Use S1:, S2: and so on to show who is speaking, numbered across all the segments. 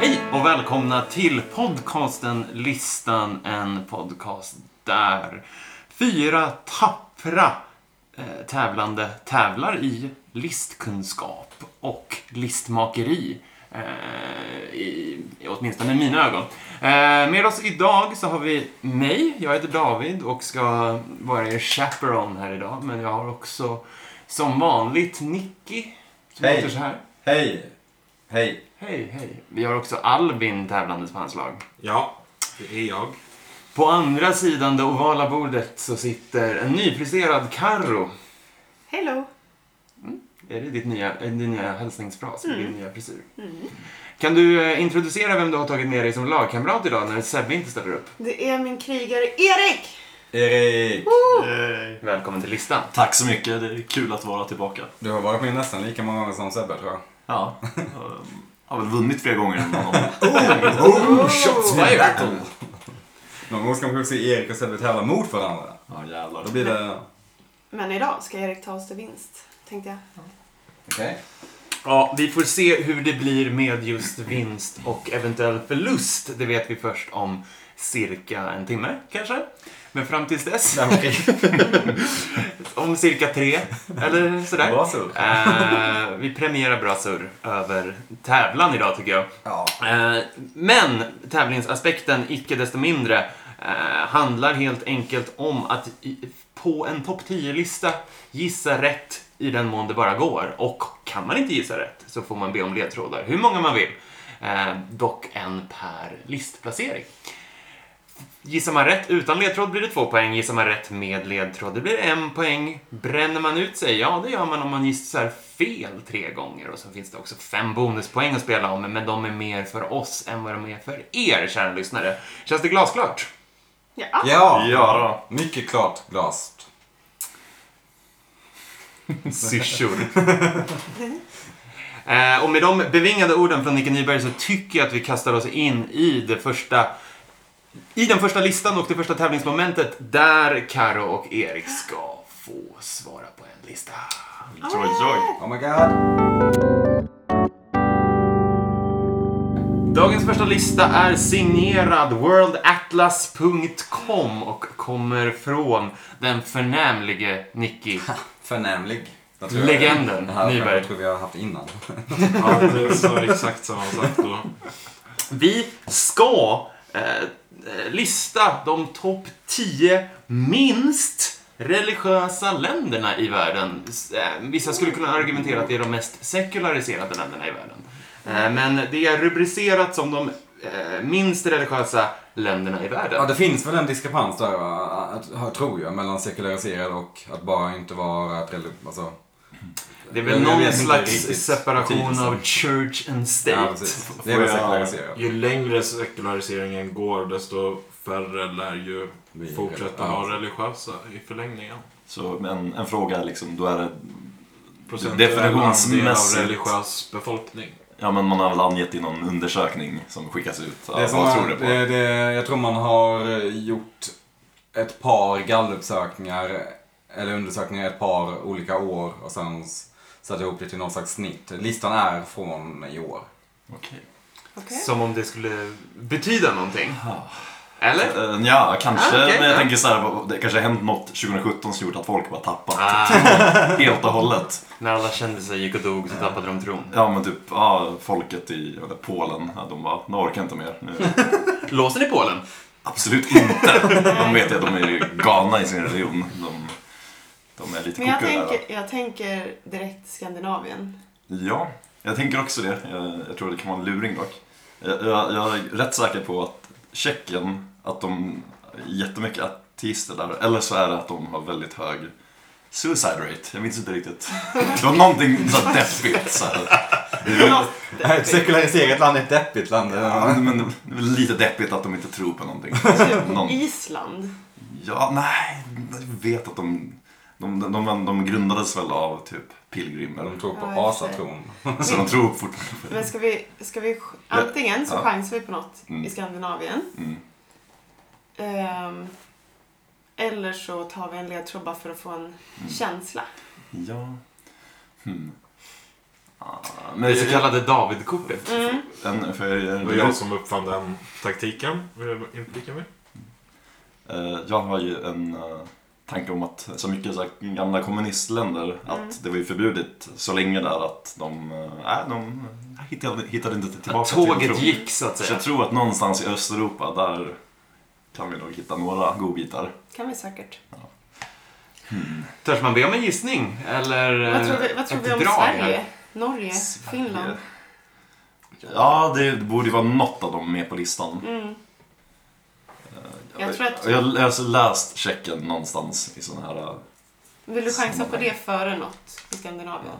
S1: Hej och välkomna till podcasten Listan, en podcast där fyra tappra eh, tävlande tävlar i listkunskap och listmakeri. Eh, i, i åtminstone i mina ögon. Eh, med oss idag så har vi mig, jag heter David och ska vara er chaperone här idag. Men jag har också som vanligt Nicky som
S2: Hej.
S1: heter så här.
S2: Hej! Hej!
S1: Hej, hej. Vi har också Albin tävlandes på hans lag.
S3: Ja, det är jag.
S1: På andra sidan det ovala bordet så sitter en nyfriserad Karro.
S4: Hello!
S1: Är det ditt nya, eh, din nya hälsningsfras? Mm. Din nya frisyr? Kan du eh, introducera vem du har tagit med dig som lagkamrat idag när Sebbe inte ställer upp?
S4: Det är min krigare Erik!
S2: Erik!
S1: Välkommen till listan.
S5: Eh, Tack så mycket, det är kul att vara tillbaka.
S2: Du har varit med nästan lika många gånger som Sebbe tror jag.
S5: Ja. ehm, har väl vunnit fler gånger än honom.
S2: Oh, shots
S1: fired.
S2: Någon gång ska man kanske se Erik och Sebbe tävla mot varandra.
S5: Ja jävlar.
S2: Då blir det...
S4: Men idag ska Erik ta oss till vinst, tänkte jag.
S2: Okej.
S1: Ja, vi får se hur det blir med just vinst och eventuell förlust. Det vet vi först om cirka en timme, kanske. Men fram tills dess,
S2: Okay.
S1: om cirka tre, eller sådär.
S2: Bra surr.
S1: Eh, vi premierar bra surr över tävlan idag tycker jag.
S2: Ja.
S1: Eh, men tävlingsaspekten, icke desto mindre, eh, handlar helt enkelt om att i, på en topp 10-lista gissa rätt i den mån det bara går. Och kan man inte gissa rätt så får man be om ledtrådar, hur många man vill. Eh, dock en per listplacering. Gissar man rätt utan ledtråd blir det två poäng. Gissar man rätt med ledtråd det blir en poäng. Bränner man ut sig, ja det gör man om man gissar fel tre gånger. Och så finns det också fem bonuspoäng att spela om, men de är mer för oss än vad de är för er, kära lyssnare. Känns det glasklart?
S4: Ja,
S2: Ja!
S5: Ja
S2: Mycket klart glast.
S1: Syrsor. Eh, och med de bevingade orden från Nicke Nyberg så tycker jag att vi kastar oss in i det första i den första listan och det första tävlingsmomentet där Karo och Erik ska få svara på en lista.
S5: Joy, joy.
S2: Oh my god.
S1: Dagens första lista är signerad worldatlas.com och kommer från den förnämlige Nicky.
S2: Förnämlig. Jag
S1: Legenden,
S2: Det här
S1: Nyberg.
S2: Jag tror vi har haft innan.
S3: Ja, det sa exakt samma sak då.
S1: Vi ska eh, eh, lista de topp 10 minst religiösa länderna i världen. S- eh, Vissa skulle kunna argumentera att det är de mest sekulariserade länderna i världen. Eh, Men det är rubricerat som de eh, minst religiösa länderna i
S2: Ja,
S1: världen.
S2: det finns väl en diskrepans där, va? Att- tror jag, mellan sekulariserad och att bara inte vara ett relig- alltså,
S1: Det är
S2: jag
S1: väl
S2: vet
S1: någon
S2: inte
S1: slags
S2: riktigt
S1: separation
S2: betydelsen.
S1: av church and
S2: ja,
S1: state.
S2: precis. Det är väl
S3: Får jag-
S2: sekulariserat.
S3: Ju längre sekulariseringen går, desto färre lär ju
S2: Vi-
S3: fortsätta
S2: ja.
S3: vara religiösa i förlängningen.
S5: Så men en fråga liksom, då är det...
S3: Procentuell
S5: Definitionsmässigt.
S3: andel av religiös befolkning.
S5: Ja men man har väl angett i någon undersökning som skickas ut. Ja,
S2: Det är som
S5: vad
S2: man,
S5: tror du på?
S2: Det, det, jag tror man har eh, gjort ett par gallupsökningar, eller undersökningar ett par olika år och sen s- satt ihop det till någon slags snitt. Listan är från i år.
S5: Okej.
S4: okej.
S1: Som om det skulle betyda någonting. Eller?
S5: Eh, Ja, kanske.
S1: Ah, okej,
S5: men jag
S1: ja.
S5: tänker så här, vad- det kanske har hänt något 2017 som gjort att folk bara tappat
S1: Ah,
S5: helt och hållet.
S1: när alla kändisar gick och dog så tappade de tron.
S5: Ja men typ, ja, folket i eller Polen, ja, de bara, nu orkar jag inte mer. Nu.
S1: Låser ni Polen?
S5: Absolut inte. De vet ju att de är ju galna i sin religion. De, de är lite
S4: Men jag
S5: koko där.
S4: tänker, jag tänker direkt Skandinavien.
S5: Ja, jag tänker också det. Jag, jag tror det kan vara en luring dock. Jag, jag, jag är rätt säker på att Tjeckien, att de är jättemycket ateister där. Eller så är det att de har väldigt hög suicide rate. Jag minns inte riktigt. Det var någonting så här deppigt. Så här. Det är väl-
S2: Ett sekulariserat land är ett deppigt land.
S5: Ja, men det är väl lite deppigt att de inte tror på någonting. Någon,
S4: Island.
S5: Ja, nej. Jag vet att de... De, de, de, de grundades väl av typ pilgrimer.
S2: De tror på
S4: Ja, just det.
S2: asatron.
S5: Så de tror fortfarande...
S4: Men ska vi, ska vi antingen så
S5: Ja.
S4: chansar vi på något
S5: Mm.
S4: i Skandinavien.
S5: Mm.
S4: Ehm, eller så tar vi
S5: Mm.
S4: en ledtråd bara för att få en känsla.
S5: Ja. Hmm. Ah,
S1: Det
S5: Men
S1: så kallade Davidkortet.
S4: Mm.
S5: en, för, eh,
S3: Det var jag som uppfann den taktiken. Vill du inflika mig?
S5: Eh, Jag har ju en eh, tanke om att så mycket så här, gamla kommunistländer, att det var ju förbjudet så länge där att de, äh, de hittade, hittade inte tillbaka
S1: Att
S5: till
S1: tåget
S5: tron.
S1: gick så att
S5: Så
S1: säga.
S5: jag tror att någonstans i Östeuropa, där kan vi nog hitta några godbitar.
S4: kan vi säkert.
S1: Törs man be om en gissning? Eller
S4: Vad tror vi,
S1: eh,
S4: vad tror
S1: ett
S4: vi om
S1: drag här?
S4: Sverige? Norge? Finland?
S5: Ja, det borde ju vara något av dem med på listan.
S4: Mm. Jag tror att-
S5: jag jag har alltså läst Tjeckien någonstans i sådana här... eh,
S4: Vill du chansa på
S5: Sammanhang.
S4: det före något i Skandinavien?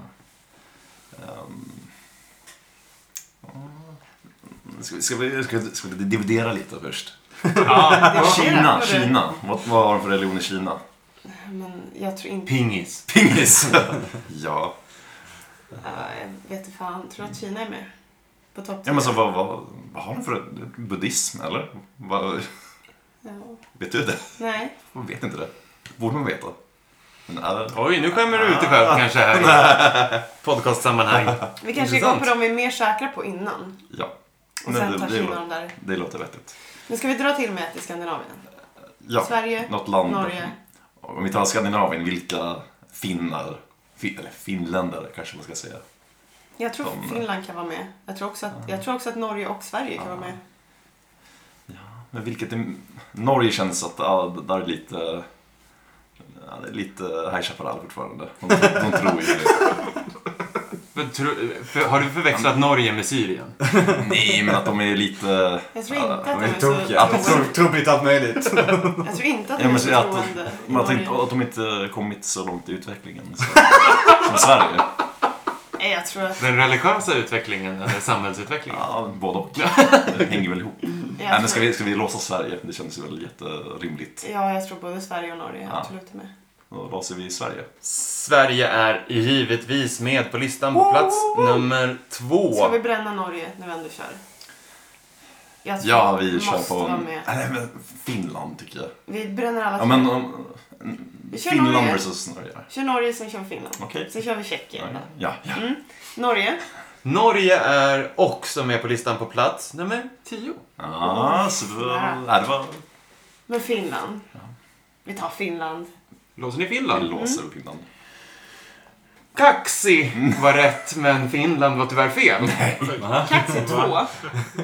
S5: ehm, ja. ska, vi- ska, vi, ska, vi- ska vi dividera lite först?
S4: Det är flera,
S5: Kina,
S4: hörru.
S5: Kina. Vad, vad har de för religion i Kina?
S4: Men jag tror inte...
S1: Pingis.
S5: Pingis! ja.
S4: Äh, jag vet inte fan. Tror du att Kina är med? På topp
S5: ja men så, vad, vad, vad har de för buddhism eller? Vad,
S4: Ja.
S5: vet du det?
S4: Nej.
S5: Man vet inte det. Borde man veta. Men eh, är,
S1: Oj, nu skämmer du ut dig själv kanske här i Ah. podcastsammanhang.
S4: Vi kanske går
S1: Intressant.
S4: på de vi är mer säkra på innan.
S5: ja.
S4: Och
S5: Nej,
S4: sen
S5: det-
S4: tar
S5: det
S4: Kina
S5: låter-
S4: de där.
S5: Det låter vettigt.
S4: Nu ska vi dra till med ett i Skandinavien.
S5: Ja,
S4: Sverige,
S5: något land.
S4: Norge.
S5: Om vi tar Skandinavien, vilka finnar, fin, eller finländare kanske man ska säga.
S4: Jag tror
S5: De-
S4: Finland kan vara med. Jag tror också att, jag tror också att Norge och Sverige kan vara med.
S5: Men vilket är, Norge känns att ja, det där är lite, ja, det är lite High Chaparral fortfarande. De, de tror ju det.
S1: För, tro- för, har du förväxlat Norge med Syrien?
S5: Nej, men att de är lite...
S4: Jag tror
S5: ja,
S4: inte
S2: De
S4: att de
S2: är
S4: är så
S2: tokiga. De
S4: troende.
S2: tror- tror lite allt möjligt.
S4: Jag tror inte att de
S5: Ja,
S4: är
S5: men
S4: så
S5: så att-
S4: troende i
S5: Man
S4: Norge.
S5: tänkte att de inte kommit så långt i utvecklingen så, som Sverige.
S4: Nej, jag tror att...
S1: Den religiösa utvecklingen eller samhällsutvecklingen?
S5: Ja, både och. Det hänger väl ihop.
S4: Jag
S5: Nej, men ska
S4: tror,
S5: vi, ska vi låsa Sverige? Det känns väl jätterimligt.
S4: Ja, jag tror både Sverige och Norge
S5: Ja.
S4: absolut är med.
S5: Då låser vi Sverige.
S1: Sverige är givetvis med på listan på plats nummer två.
S4: Ska vi bränna Norge när vi ändå kör? Jag tror
S5: Ja, vi
S4: Alltså, måste
S5: kör på...
S4: Vara
S5: Nej,
S4: med.
S5: men Finland tycker jag.
S4: Vi bränner alla
S5: Ja, men
S4: tre.
S5: om...
S4: Vi kör
S5: Finland
S4: Norge.
S5: versus Norge.
S4: Kör Norge, sen kör vi Finland.
S5: Okej.
S4: Sen kör vi Tjeckien.
S5: Ja, ja.
S4: Mm. Norge.
S1: Norge är också med på listan på plats nummer tio.
S5: Ah, så det var... Ja, det var...
S4: Men Finland. Vi tar Finland.
S1: Låser ni
S5: Vi
S4: Mm.
S1: Finland?
S5: låser Finland.
S1: Kaxi var rätt, men Finland var tyvärr fel.
S4: Kaxi 2.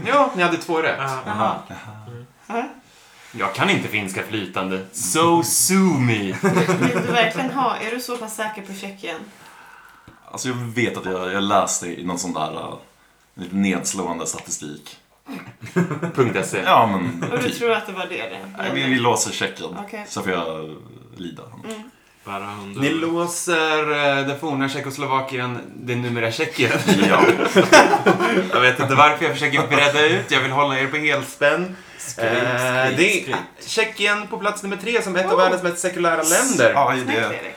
S1: Ja, ni hade två rätt.
S4: Jaha.
S1: Jag kan inte finska flytande. So sue me.
S4: Vill du verkligen ha? Är du så pass säker på Tjeckien?
S5: Alltså jag vet att jag, jag läste i någon sån där eh, lite nedslående statistik.
S1: Punkt E. .se.
S5: Ja, men
S4: Och du
S5: typ.
S4: tror att det var det det
S5: Nej, vi,
S4: gällde?
S5: vi låser Tjeckien.
S4: Okej.
S5: Så får jag eh, lida.
S3: Bära hundar.
S1: Ni låser eh, det forna Tjeckoslovakien, det numera Tjeckien.
S5: Ja.
S1: Jag vet inte varför jag försöker bredda ut. Jag vill hålla er på helspänn. Eh, det är Tjeckien på plats nummer tre som ett av
S4: Oh.
S1: världens mest sekulära länder.
S5: Ja, i
S4: Snyggt,
S5: det.
S4: Erik.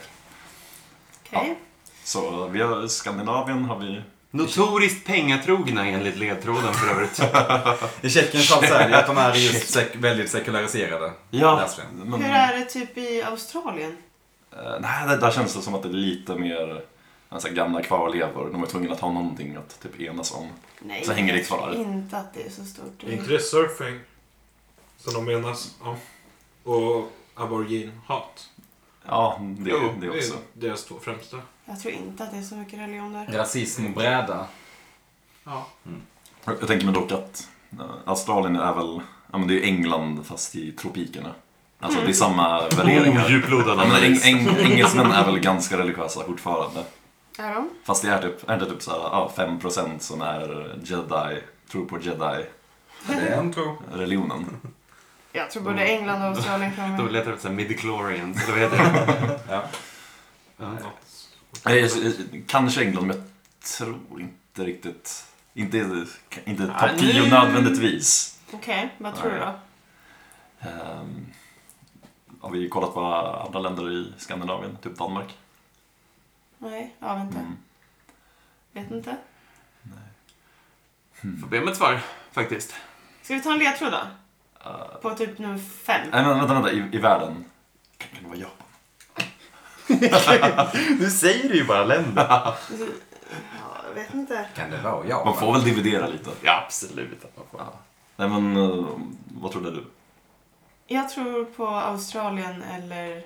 S4: Okej.
S5: Så vi har Skandinavien har vi.
S1: Notoriskt pengatrogna enligt ledtråden för övrigt.
S2: I Tjeckien fall så är det att de är just sek- väldigt sekulariserade.
S5: Ja,
S2: Läser jag.
S5: men...
S4: Hur är det typ i Australien?
S5: Eh, nej, det, där känns det som att det är lite mer alltså, gamla kvarlevor. De var tvungna att ha någonting att typ enas om.
S4: Nej,
S5: Så hänger det
S4: jag tror
S5: kvar.
S4: inte att det är så stort.
S3: Är inte det surfing? Som de menas om. Och aborigin-hat.
S5: Ja, det,
S3: Jo,
S5: det också.
S3: är deras två främsta.
S4: Jag tror inte att det är så mycket religion där.
S2: Rasism och bräda.
S3: Ja.
S5: Jag, jag tänker mig dock att eh, Australien är väl, ja men det är ju England fast i tropikerna. Alltså det är samma värderingar.
S1: Oh, djuplodande
S5: Ja, men
S1: analys.
S5: eng, eng, engelsmän är väl ganska religiösa fortfarande.
S4: Är de?
S5: Fast det är typ, är det typ såhär, ja, 5% som är jedi, tror på jedi-religionen.
S2: Ja, Det är en tro.
S4: Jag tror både
S5: Mm.
S4: England och Australien kan
S1: Då
S4: vara med.
S1: letar vi efter midichlorians, eller vad heter det?
S2: Ja.
S1: Ja.
S3: Något.
S5: Eh, jag- jag- Kanske England, men jag tror inte riktigt. Inte, inte
S1: Nej,
S5: topp 10
S1: nu-
S5: nödvändigtvis.
S4: Okej, vad tror du då?
S5: Ehm, har vi kollat på andra länder i Skandinavien, typ Danmark?
S4: Nej, ja vänta.
S5: Mm.
S4: Vet inte.
S1: Får be om ett svar, faktiskt.
S4: Ska vi ta en ledtråd då?
S5: Eh,
S4: På typ nummer fem.
S5: Nej, men vänta, vänta, i, i världen. Kan, kan det vara Japan?
S1: Du säger ju bara länder.
S4: Alltså, Ja, Jag vet inte.
S2: Kan det vara jag?
S5: Man får väl dividera lite.
S1: Ja, absolut.
S5: Nej men, eh, vad trodde du?
S4: Jag tror på Australien eller...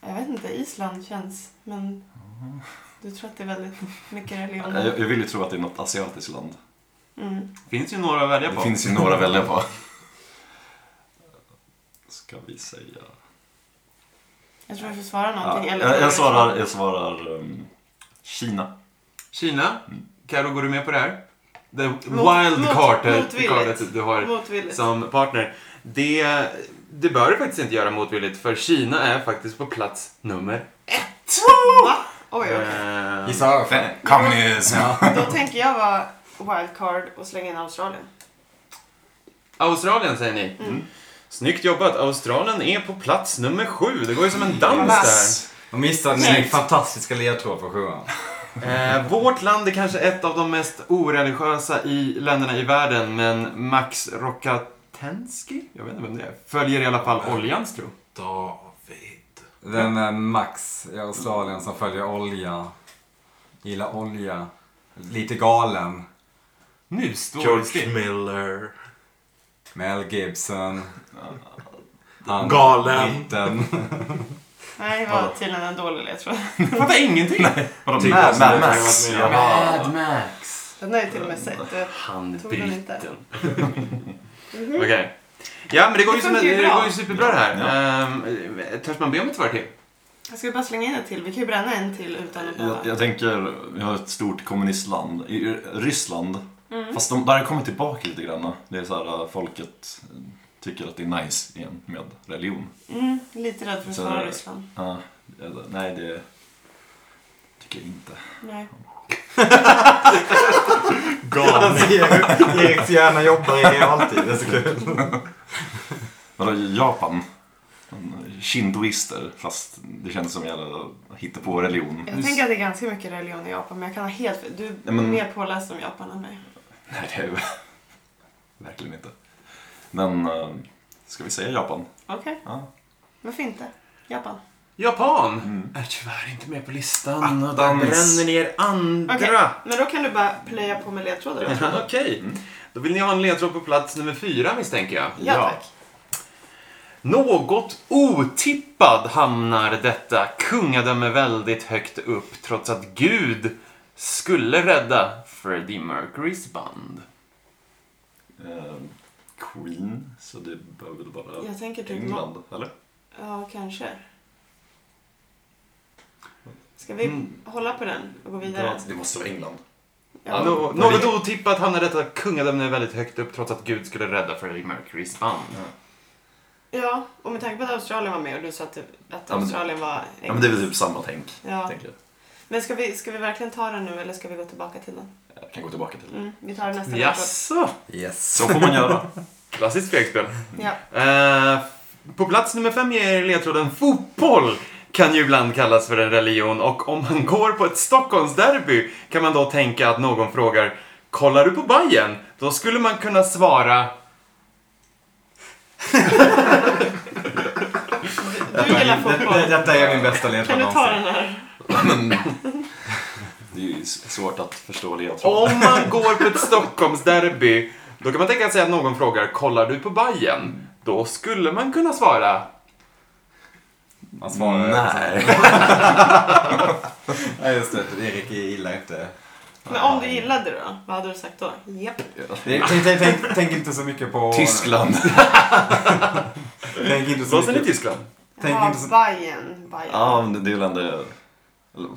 S4: Jag vet inte, Island känns. Men
S5: Mm.
S4: du tror att det är väldigt mycket religion.
S5: Eh, Jag, jag vill ju tro att det är något asiatiskt land.
S4: Mm.
S1: finns ju några att välja på.
S5: Det finns ju några att välja på. Ska vi säga...
S4: Jag tror jag får svara
S5: Ja,
S4: någonting.
S5: jag,
S4: eller tror
S5: jag svarar, jag svarar ehm, Kina.
S1: Kina. Karo, går du med på det här? The wild
S4: mot-
S1: cardet
S4: motvilligt.
S1: cardet du har
S4: Motvilligt.
S1: som partner. Det, det bör du faktiskt inte göra motvilligt för Kina är faktiskt på plats nummer
S4: Va? Oj, oj.
S1: Eh,
S2: Gissa varför.
S5: Kommunism!
S4: Då tänker jag vara wildcard och slänga in Australien.
S1: Australien säger ni.
S4: Mm.
S1: Mm. Snyggt jobbat. Australien är på plats nummer sju. Det går ju som en dans
S2: Och missade ni
S1: Snyggt.
S2: fantastiska ledtråd på sjuan?
S1: där. Eh, vårt land är kanske ett av de mest oreligiösa i länderna i världen, men Max Rokatensky, jag vet inte vem det är, följer i alla fall oljans tro.
S3: David.
S2: Den är Max i Australien som följer olja. Gillar olja. Lite galen.
S1: Nu står det
S3: George
S1: still.
S3: Miller.
S2: Mel Gibson. Han
S3: Galen.
S2: Liten.
S4: Nej, det var tydligen en dålig ledtråd.
S1: Jag fattar ingenting. Typ
S5: Vadå,
S3: Tycker
S5: Mad
S3: jag
S5: typ Mad
S3: som det
S5: Max?
S3: kan vara med.
S5: Jaha.
S1: Max.
S4: Den har jag till och med
S5: Mm.
S4: sett. Det
S1: Han
S4: Tog den inte.
S1: britten. Okej.
S4: Mhm.
S1: Ja, men det går ju,
S4: Det
S1: som,
S4: funkar ju
S1: det
S4: bra.
S1: går ju superbra det här. Ehm, törs man be om ett svar till?
S4: Jag ska bara slänga in en till. Vi kan ju bränna en till utan att
S5: Jag,
S4: behöva.
S5: jag tänker, vi har ett stort kommunistland. I R- Ryssland.
S4: Mm.
S5: Fast de, där kommer tillbaka lite grann. Det är så här, eh, folket eh, tycker att det är nice igen med religion.
S4: Mm, lite rädd för att
S5: Så-
S4: svara Ryssland.
S5: Ja, eller, nej, det tycker jag inte.
S4: Nej.
S2: Han ser hur Eriks hjärna jobbar i realtid. Det är så kul.
S5: Vadå, Japan? Shindoister, fast det känns som jävla på religion.
S4: Jag tänker att det är ganska mycket religion i Japan, men jag kan ha helt fel. Du är
S5: Nej, Mm. men-
S4: mer påläst om Japan än mig.
S5: Nej, det är ju verkligen inte. Men, eh, ska vi säga Japan?
S4: Okej,
S5: Ja.
S4: varför inte? Japan.
S1: Japan är tyvärr inte med på listan. och Där
S5: Mm. Attans.
S1: bränner ni er andra.
S4: Okej, men då kan du bara plöja på med ledtrådar. då.
S1: Okej. Mm. Då vill ni ha en ledtråd på plats nummer fyra misstänker jag.
S4: Ja, tack.
S1: Något otippad hamnar detta kungadöme väldigt högt upp trots att Gud skulle rädda Freddie Mercurys band.
S5: Eh, Queen, så det behöver väl vara
S4: Jag tänker typ... nå-
S5: England, eller?
S4: Ja, kanske. Ska vi
S5: Mm.
S4: hålla på den och gå vidare?
S5: Det måste vara England.
S4: Ja.
S1: Nå- något otippat hamnar detta kungadöme väldigt högt upp trots att Gud skulle rädda Freddie Mercurys band.
S4: ja, och med tanke på att Australien var med och du sa att, att
S5: men-
S4: Australien var...
S5: Ja, men det är väl typ samma tänk,
S4: Ja.
S5: tänker jag.
S4: Men ska vi, ska vi verkligen ta den nu eller ska vi gå tillbaka till den?
S5: Jag kan gå tillbaka till det.
S4: Mm, vi tar den nästa
S1: Jaså?
S2: Yes.
S5: Så får man göra.
S1: Klassiskt fegspel.
S4: vecka. Ja.
S1: Eh, på plats nummer fem ger ledtråden fotboll kan ju ibland kallas för en religion och om man går på ett Stockholmsderby kan man då tänka att någon frågar Kollar du på Bayern? Då skulle man kunna svara
S4: Du gillar
S2: Det-
S4: fotboll.
S2: Detta är min bästa ledtråd
S4: Kan du ta
S2: någonsin.
S4: den här?
S5: Det är ju svårt att förstå ledtrådar.
S1: Om man går på ett Stockholmsderby då kan man tänka sig att någon frågar Kollar du på Bayern? Då skulle man kunna svara
S2: Man svarar
S5: Nej.
S2: Nej just det, Erik gillar inte.
S4: Men om du gillade det då? Vad hade du sagt då? Japp.
S2: Tänk, tänk, tänk, tänk inte så mycket på...
S5: Tyskland.
S2: Tänk inte så
S1: Så ser ni
S2: mycket,
S1: Tyskland.
S2: tänk
S4: Jaha,
S2: inte så,
S4: Bajen. Bajen.
S5: Ja, men det är väl ändå... eller, mm,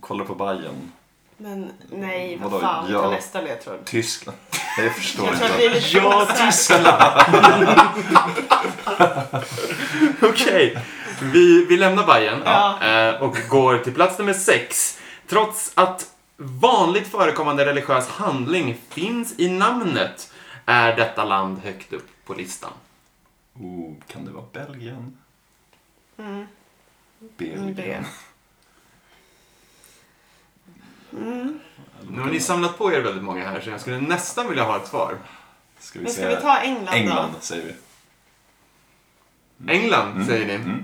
S5: Kolla på Bayern.
S4: Men nej, vad
S5: Vadå,
S4: fan. Vi tar
S5: ja.
S4: nästa ledtråd.
S5: Tyskland. Jag förstår
S4: Jag
S5: inte.
S4: tror att vi är lite
S1: Ja,
S4: så här-
S1: Tyskland! Okej, vi, vi lämnar Bayern
S4: Ja.
S1: eh, och går till plats nummer sex. Trots att vanligt förekommande religiös handling finns i namnet är detta land högt upp på listan.
S5: Oh, kan det vara Belgien?
S4: Mm, mm, det.
S5: Belgien.
S4: Mm.
S1: Nu har ni samlat på er väldigt många här så jag skulle nästan vilja ha ett svar.
S5: Ska vi
S4: Men ska
S5: säga
S4: vi ta England,
S5: England, säger vi.
S1: England, säger ni.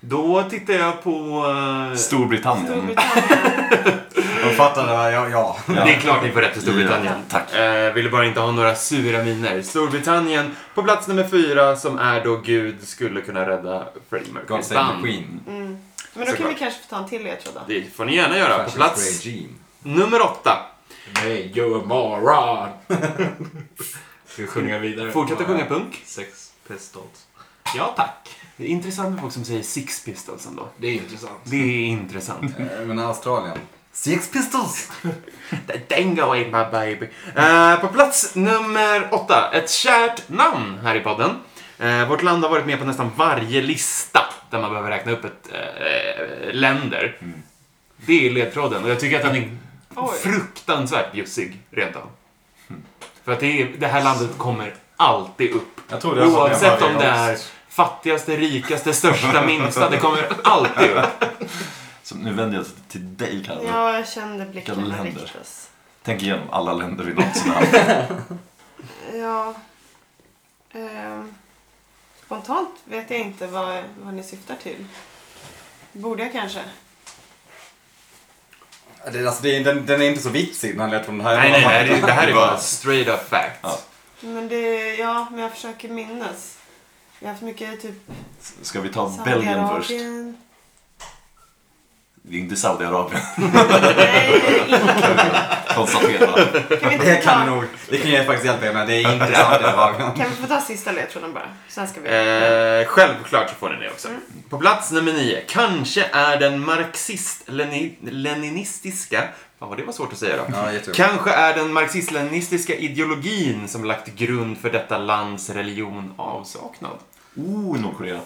S1: Då tittar jag på... eh,
S4: då?
S5: Storbritannien.
S4: Storbritannien.
S2: De fattade vad jag... Ja.
S1: Det är klart ni får rätt för Storbritannien.
S5: Ja, tack.
S1: Eh, ville bara inte ha några sura miner. Storbritannien på plats nummer fyra som är då Gud skulle kunna rädda Freddie
S2: God
S1: Mercury.
S2: save the
S1: Vann.
S2: Queen.
S4: Mm. Men då kan
S1: Såklart.
S4: vi kanske få ta en till ledtråd då.
S1: Det får ni gärna göra. På
S2: Fascist
S1: plats
S2: regime.
S1: nummer åtta.
S3: Nej, you're a moron! Ska vi sjunga vidare?
S1: Fortsätter sjunga punk.
S3: Sex Pistols. Ja, tack.
S1: Det är intressant med folk som säger Six Pistols ändå.
S3: Det är intressant.
S1: Det är intressant.
S2: Eh, Men Australien. Six pistols!
S1: Dango ain't my baby. Eh, på plats nummer åtta. Ett kärt namn här i podden. Eh, vårt land har varit med på nästan varje lista där man behöver räkna upp ett eh, länder. Det är ledtråden och jag tycker att den är
S4: Oj.
S1: fruktansvärt bjussig rent av. Mm. För att det, är, det här landet kommer alltid upp.
S2: Jag tror det är så att jag
S1: Oavsett
S2: hörde
S1: om det är
S2: oss.
S1: fattigaste, rikaste, största, minsta. Det kommer alltid upp.
S5: Så nu vänder jag sig till dig Kalle.
S4: Ja, jag kände blickarna
S5: Länder.
S4: riktas.
S5: Tänk igenom alla länder vi någonsin har haft.
S4: Ja. Ehm, spontant vet jag inte vad, vad ni syftar till. Borde jag kanske?
S2: Det- Alltså, det är- den, den är inte så vitsig den här ledtråden. Det här är
S1: Nej, nej,
S2: bara-
S1: nej. Det, det här är bara straight up facts.
S5: Ja.
S4: Men det, ja, men jag försöker minnas. Vi har haft mycket typ
S5: Ska vi ta Belgien först?
S4: Saudiarabien.
S5: Det är inte Saudiarabien.
S4: Nej, inte.
S5: Konstatera.
S4: Kan vi inte
S2: Det kan
S4: ta,
S2: nog. Det kan jag faktiskt hjälpa er med. Det är inte sant.
S4: kan vi få ta sista ledtråden bara? Sen ska vi...
S1: Eh, självklart så får ni det också. På plats nummer nio. Kanske är den marxist-leninistiska... Fan vad det var svårt att säga då.
S2: Ja, jättejobbigt.
S1: Kanske är den marxist-leninistiska ideologin som lagt grund för detta lands religion avsaknad.
S5: Oh, Nordkorea.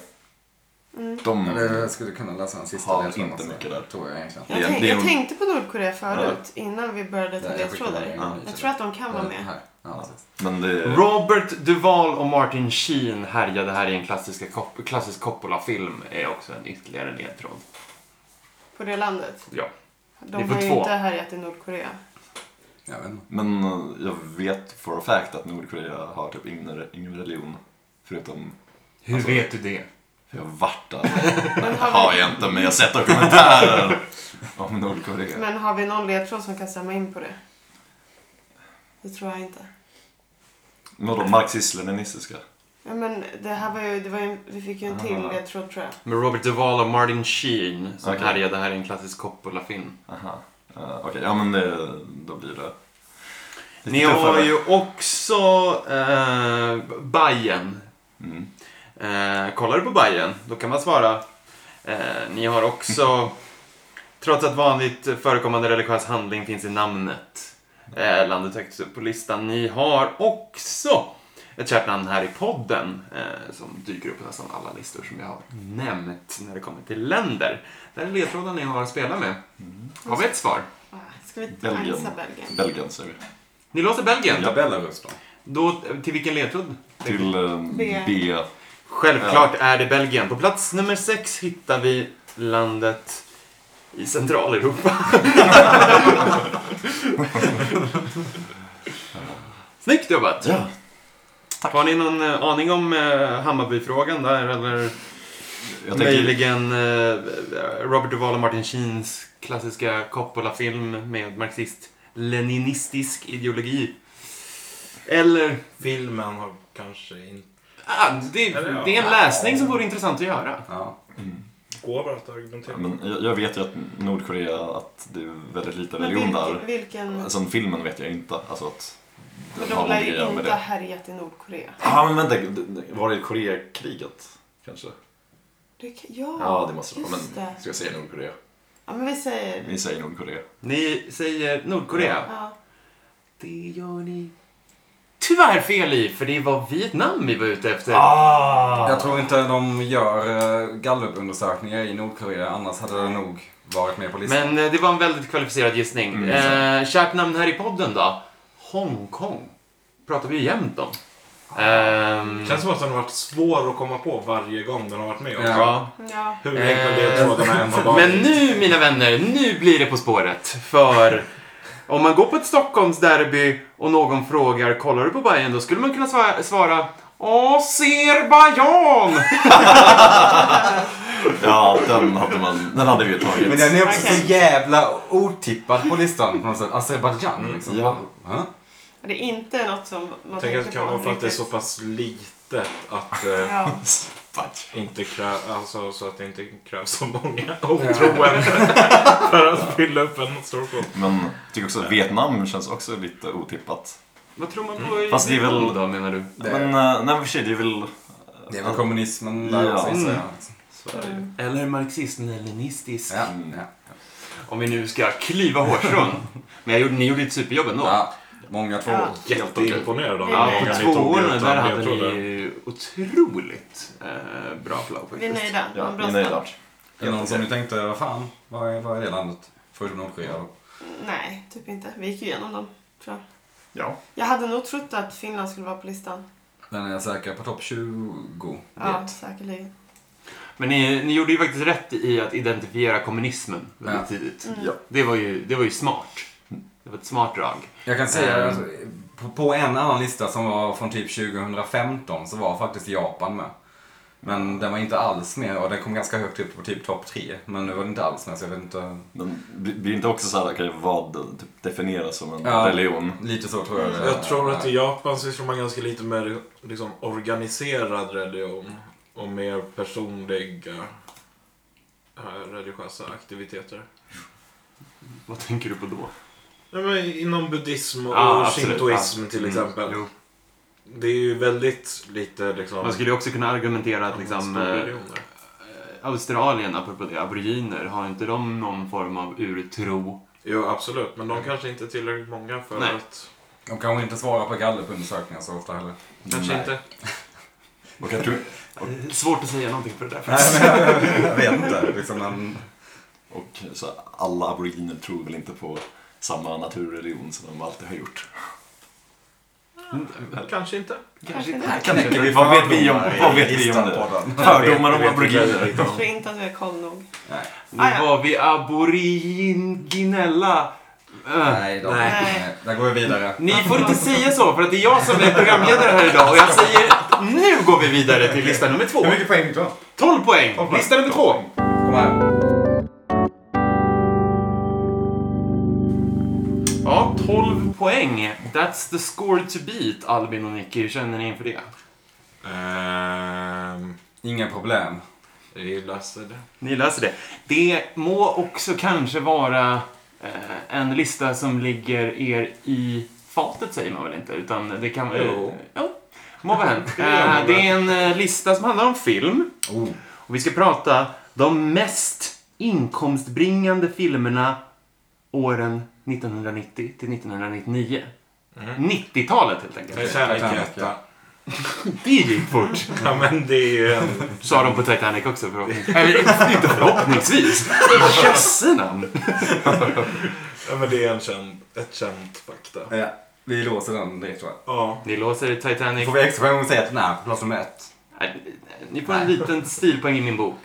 S4: Mm.
S5: De...
S2: Men Jag skulle kunna läsa den sista
S5: Har
S2: ledtråden
S5: inte
S2: också,
S5: mycket där.
S2: Tror jag egentligen.
S4: Jag,
S5: Det-
S4: tänk,
S5: det är
S4: jag
S5: nog-
S4: tänkte på Nordkorea förut, innan vi började ta
S2: Ja, jag skickar
S4: ledtrådar.
S2: bara en ny
S4: Jag tror
S2: till.
S4: att de kan vara
S2: Eh,
S4: med.
S2: här. Ja, precis.
S5: Men det...
S1: Robert Duval och Martin Sheen härjade här i en klassiska Cop- klassisk Coppola-film är också en ytterligare ledtråd.
S4: På det landet.
S1: Ja.
S4: De
S1: Ni får
S4: har ju
S1: två.
S4: inte härjat i Nordkorea.
S2: Jag vet inte.
S5: Men eh, jag vet for a fact att Nordkorea har typ ingen, ingen religion. Förutom...
S1: Hur vet du det?
S5: För jag har varit där.
S4: Men har,
S5: har
S4: vi,
S5: jag inte, men jag har sett dokumentärer om Nordkorea.
S4: men har vi någon ledtråd som kan stämma in på det? Det tror jag inte.
S5: Men Vadå, marxist-leninistiska?
S4: Ja, men det här var ju, det var ju, vi fick ju en till
S5: Ah.
S4: ledtråd tror jag.
S1: Med Robert Duval och Martin Sheen som
S5: Okej.
S1: härjade här i en klassisk Coppola-film.
S5: Aha. Eh, Okej, ja men det, då blir det... lite
S1: Ni har
S5: tuffare.
S1: ju också eh, Bayern.
S5: Mm.
S1: Eh, kollar du på Bayern, då kan man svara. Eh, ni har också, trots att vanligt förekommande religiös handling finns i namnet, eh, landet högst upp på listan. Ni har också ett kärt namn här i podden eh, som dyker upp på nästan alla listor som jag har nämnt när det kommer till länder. Där är ledtråden ni har att spela med.
S5: Mm.
S1: Har vi ett svar?
S4: Ah, Ska vi
S5: Belgien.
S4: chansa Belgien?
S5: Belgien säger vi.
S1: Ni låser Belgien.
S2: Ja, Belarus då.
S1: Då, till vilken ledtråd?
S5: Till ehm,
S4: B.
S5: B.
S1: Självklart är det Belgien. På plats nummer sex hittar vi landet i Centraleuropa. Snyggt jobbat!
S5: Ja,
S1: Har ni någon eh, aning om eh, Hammarbyfrågan där eller
S5: jag tänker...
S1: möjligen eh, Robert Duval och Martin Sheens klassiska Coppola-film med marxist-leninistisk ideologi? Eller?
S3: Filmen har kanske inte...
S1: Ah, det, det är en läsning som vore intressant att göra.
S2: Ja.
S5: Mm.
S3: Går bara att argumentera.
S5: Men jag, jag vet ju att Nordkorea, att det är väldigt lite
S4: Men typ
S5: religion
S4: vilken,
S5: där.
S4: vilken,
S5: Sen filmen vet jag inte. Alltså att...
S4: men
S5: den
S4: de
S5: har
S4: lär ju
S5: någon grej
S4: inte
S5: med
S4: ha
S5: det.
S4: härjat i Nordkorea.
S5: Ja, ah, men vänta. det- det- Var det Koreakriget? Kanske?
S4: Det, kan- ja,
S5: Ja, det måste det vara.
S4: just
S5: Men
S4: det.
S5: ska jag säga Nordkorea?
S4: Ja, men vi säger...
S5: Vi säger Nordkorea.
S1: Ni säger Nordkorea.
S4: Ja.
S1: Det gör ni. Tyvärr fel i, för det var Vietnam vi var ute efter.
S2: Jag tror inte de gör eh, gallupundersökningar i Nordkorea, annars hade det nog varit med på listan.
S1: Men eh, det var en väldigt kvalificerad gissning.
S5: Mm.
S1: Eh, kärt namn här i podden då? Hongkong. Pratar vi ju jämt om. Ehm,
S3: Det känns som att den har varit svår att komma på varje gång den har varit med.
S2: Ja.
S1: ja.
S4: ja.
S3: Hur
S1: Eh,
S3: enkla ledtrådarna än har varit.
S1: Men nu mina vänner, nu blir det På spåret. För om man går på ett Stockholmsderby och någon frågar kollar du på Bayern Då skulle man kunna svara, svara Azerbajdzjan!
S5: Ja, den hade, man, den hade vi tagit.
S2: Men den är också
S4: Okej.
S2: så jävla otippad på listan på något sätt. Azerbajdzjan liksom.
S5: Ja.
S2: Ja.
S4: Det är inte något som man
S3: Jag tänker att det kan
S4: på
S3: vara för att det är
S4: riktigt.
S3: så pass litet att, eh,
S4: Ja.
S5: Fuck.
S3: inte krä, alltså, så att det inte krävs så många otroende för att fylla upp en stor kod.
S5: Men jag tycker också att Vietnam känns också lite otippat.
S1: Vad tror man på i
S5: Mm, Fast det är väl-
S1: Vietnam då, menar du?
S2: Det-
S5: Men eh, nej, men för sig, det är väl...
S2: Det är väl kommunismen där
S5: Ja.
S2: också gissar jag.
S1: Mm.
S4: Mm.
S1: Eller marxism-leninistisk.
S2: Ja.
S5: Mm.
S2: Ja.
S1: Om vi nu ska klyva hårstrån. Men jag gjorde, ni gjorde ett superjobb ändå.
S2: ja. Många två.
S4: Ja.
S3: Jätteimponerad av hur
S1: Ja,
S4: Nej,
S3: många
S1: på
S3: ni
S1: två
S3: tog
S1: år
S3: utan
S1: där hade
S3: ledtrådar.
S1: ni otroligt eh, bra flow
S4: Vi är
S1: faktiskt.
S4: nöjda.
S5: Ja,
S4: Bra
S5: vi är
S4: start.
S5: nöjda.
S2: Är det någon som ni tänkte, vad fan, vad är, vad är det landet? Förutom Nordkorea då.
S4: Nej, typ inte. Vi gick igenom dem, tror jag.
S5: Ja.
S4: Jag hade nog trott att Finland skulle vara på listan.
S2: Den är jag säker på topp 20.
S4: Ja, säkerligen.
S1: Men ni, ni gjorde ju faktiskt rätt i att identifiera kommunismen väldigt
S2: Ja.
S1: tidigt.
S4: Mm.
S5: Ja.
S1: Det var, ju, det var ju smart. Det var ett smart drag.
S2: Jag kan säga
S1: Ehm.
S2: alltså, på, på en annan lista som var från typ 2015 så var faktiskt Japan med. Men den var inte alls med och den kom ganska högt upp på typ topp 3. Men nu var den inte alls med så jag vet inte.
S5: Men blir blir inte också så här, okej, vad typ, definieras som en
S2: Ja.
S5: religion?
S2: Lite så tror jag det är.
S3: Jag tror att i Japan sysslar man ganska lite med liksom, organiserad religion och mer personliga eh, religiösa aktiviteter.
S1: Vad tänker du på då?
S3: Nej, men inom buddhism och
S1: Ja, absolut.
S3: shintoism till
S1: Mm.
S3: exempel.
S1: Jo.
S3: Det är ju väldigt lite liksom...
S1: Man skulle ju också kunna argumentera att
S3: om
S1: liksom,
S3: stora
S1: eh,
S3: religioner.
S1: Australien, apropå det, aboriginer, har inte de någon form av urtro?
S3: Jo, absolut. Men de kanske inte är tillräckligt många för
S1: Nej.
S3: att...
S2: De kanske inte svarar på gallupundersökningar så ofta heller.
S3: Kanske
S5: Nej.
S3: inte.
S5: Och jag, tror,
S1: Eh, Svårt att säga någonting på det där
S2: Nej
S1: faktiskt.
S2: men jag vet inte. Liksom, men,
S5: och så här, alla aboriginer tror väl inte på samma naturreligion som de alltid har gjort.
S3: Kanske inte.
S4: Kanske inte.
S1: Nej,
S5: Kanske
S2: knäcker vi
S5: Vad vet vi om,
S2: fördomar i
S5: vad vet vi om det?
S2: listan på den?
S5: Fördomar om
S3: Jag vet inte
S5: aboriginer.
S3: väldigt lite
S4: Jag
S3: om-
S4: tror inte att vi har koll nog.
S2: Nej.
S1: Nu
S4: Ah, ja.
S1: var vi aboriginella. Eh,
S2: Nej, de,
S3: Nej.
S2: nej. Där går vi vidare.
S1: Ni får inte säga så, för att det är jag som är programledare här idag och jag säger nu går vi vidare till lista nummer två.
S2: Hur mycket poäng fick du?
S1: 12 poäng!
S2: Tolv poäng.
S1: Lista nummer två.
S2: Kom här.
S1: Ja, 12 poäng. That's the score to beat, Albin och Nicky. Hur känner ni inför det?
S3: Ehm,
S2: Inga problem.
S3: vi löser det.
S1: Ni löser det. Det må också kanske vara eh, en lista som ligger er i fatet, säger man väl inte? Utan det kan...
S3: Jo.
S1: ja, må vara hänt.
S3: Det gör man
S1: Eh, det är en eh, lista som handlar om film.
S2: Oh.
S1: Och vi ska prata de mest inkomstbringande filmerna åren 1990 till 1999. 90-talet helt enkelt.
S3: Men kärlek
S2: Tack,
S3: är
S2: tack.
S3: etta.
S1: Det gick fort.
S3: Ja, men det är ju en...
S1: Sa de på Titanic också förhoppningsvis. Eller inte förhoppningsvis. Jösse namn.
S3: Ja, men det är en känd, ett känt
S2: Ja,
S3: fakta.
S2: Eh, vi låser den direkt tror jag.
S3: Ja.
S1: Ni låser Titanic.
S2: Får vi extra poäng om vi säger att den är på plats nummer ett?
S1: Nej, Ni får en liten stilpoäng i min bok.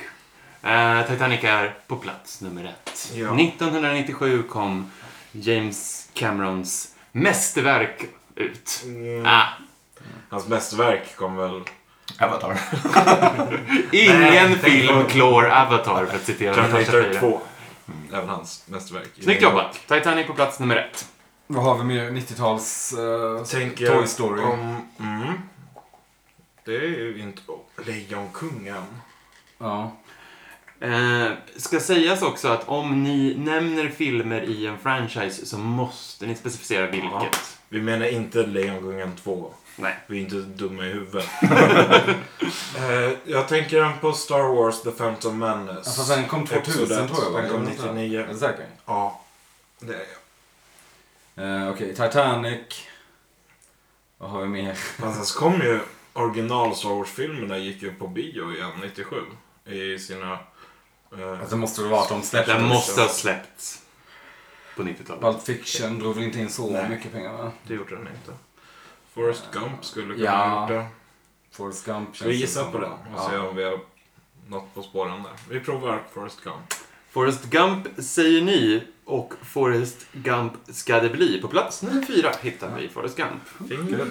S1: Eh, Titanic är på plats nummer ett.
S3: Ja.
S1: 1997 kom James Camerons mästerverk ut.
S3: Mm.
S1: Ah,
S3: Hans mästerverk kom väl...
S5: Avatar.
S1: Ingen
S3: Nej,
S1: film
S3: tänk på-
S1: klår Avatar för att citera Natasha
S3: Terminator
S1: Freja.
S3: 2. Även hans mästerverk.
S1: Snyggt jobbat! Titanic på plats nummer ett.
S2: Vad har vi mer? 90-tals... eh,
S3: Tänker
S2: Toy Story.
S3: Om, mm, det är ju inte... oh, Lejonkungen.
S2: Ja.
S1: Eh, ska sägas också att om ni nämner filmer i en franchise så måste ni specificera vilket.
S3: Ja. Vi menar inte Lejonkungen 2.
S1: Nej.
S3: Vi är inte dumma i huvudet. Eh, jag tänker den på Star Wars The Phantom Menace.
S2: Alltså den kom 2000
S3: Episod ett.
S2: tror jag. va?
S3: Den kom
S2: Eller något sånt.
S3: 99.
S2: Är du säker?
S3: Ja, det är jag.
S2: Eh, Okej, Titanic. Vad har vi mer?
S3: Men sen så kom ju original Star Wars-filmerna gick ju på bio igen 97. I sina... Eh,
S2: Alltså, det måste väl vara att de släppte...
S1: Den måste ha släppts på 90-talet.
S2: Pulp Fiction drog väl inte in så
S3: Nej.
S2: mycket pengar va?
S3: det gjorde den inte. Forrest Gump skulle kunna
S2: Ja.
S3: ha gjort det.
S2: Forrest Gump
S3: Ska vi
S2: känns
S3: gissa
S2: som-
S3: på den och se
S2: Ja.
S3: om vi har något på spåren där? Vi provar Forrest Gump.
S1: Forrest Gump säger ni och Forrest Gump ska det bli. På plats nummer fyra hittar vi Forrest Gump.
S3: Fingret.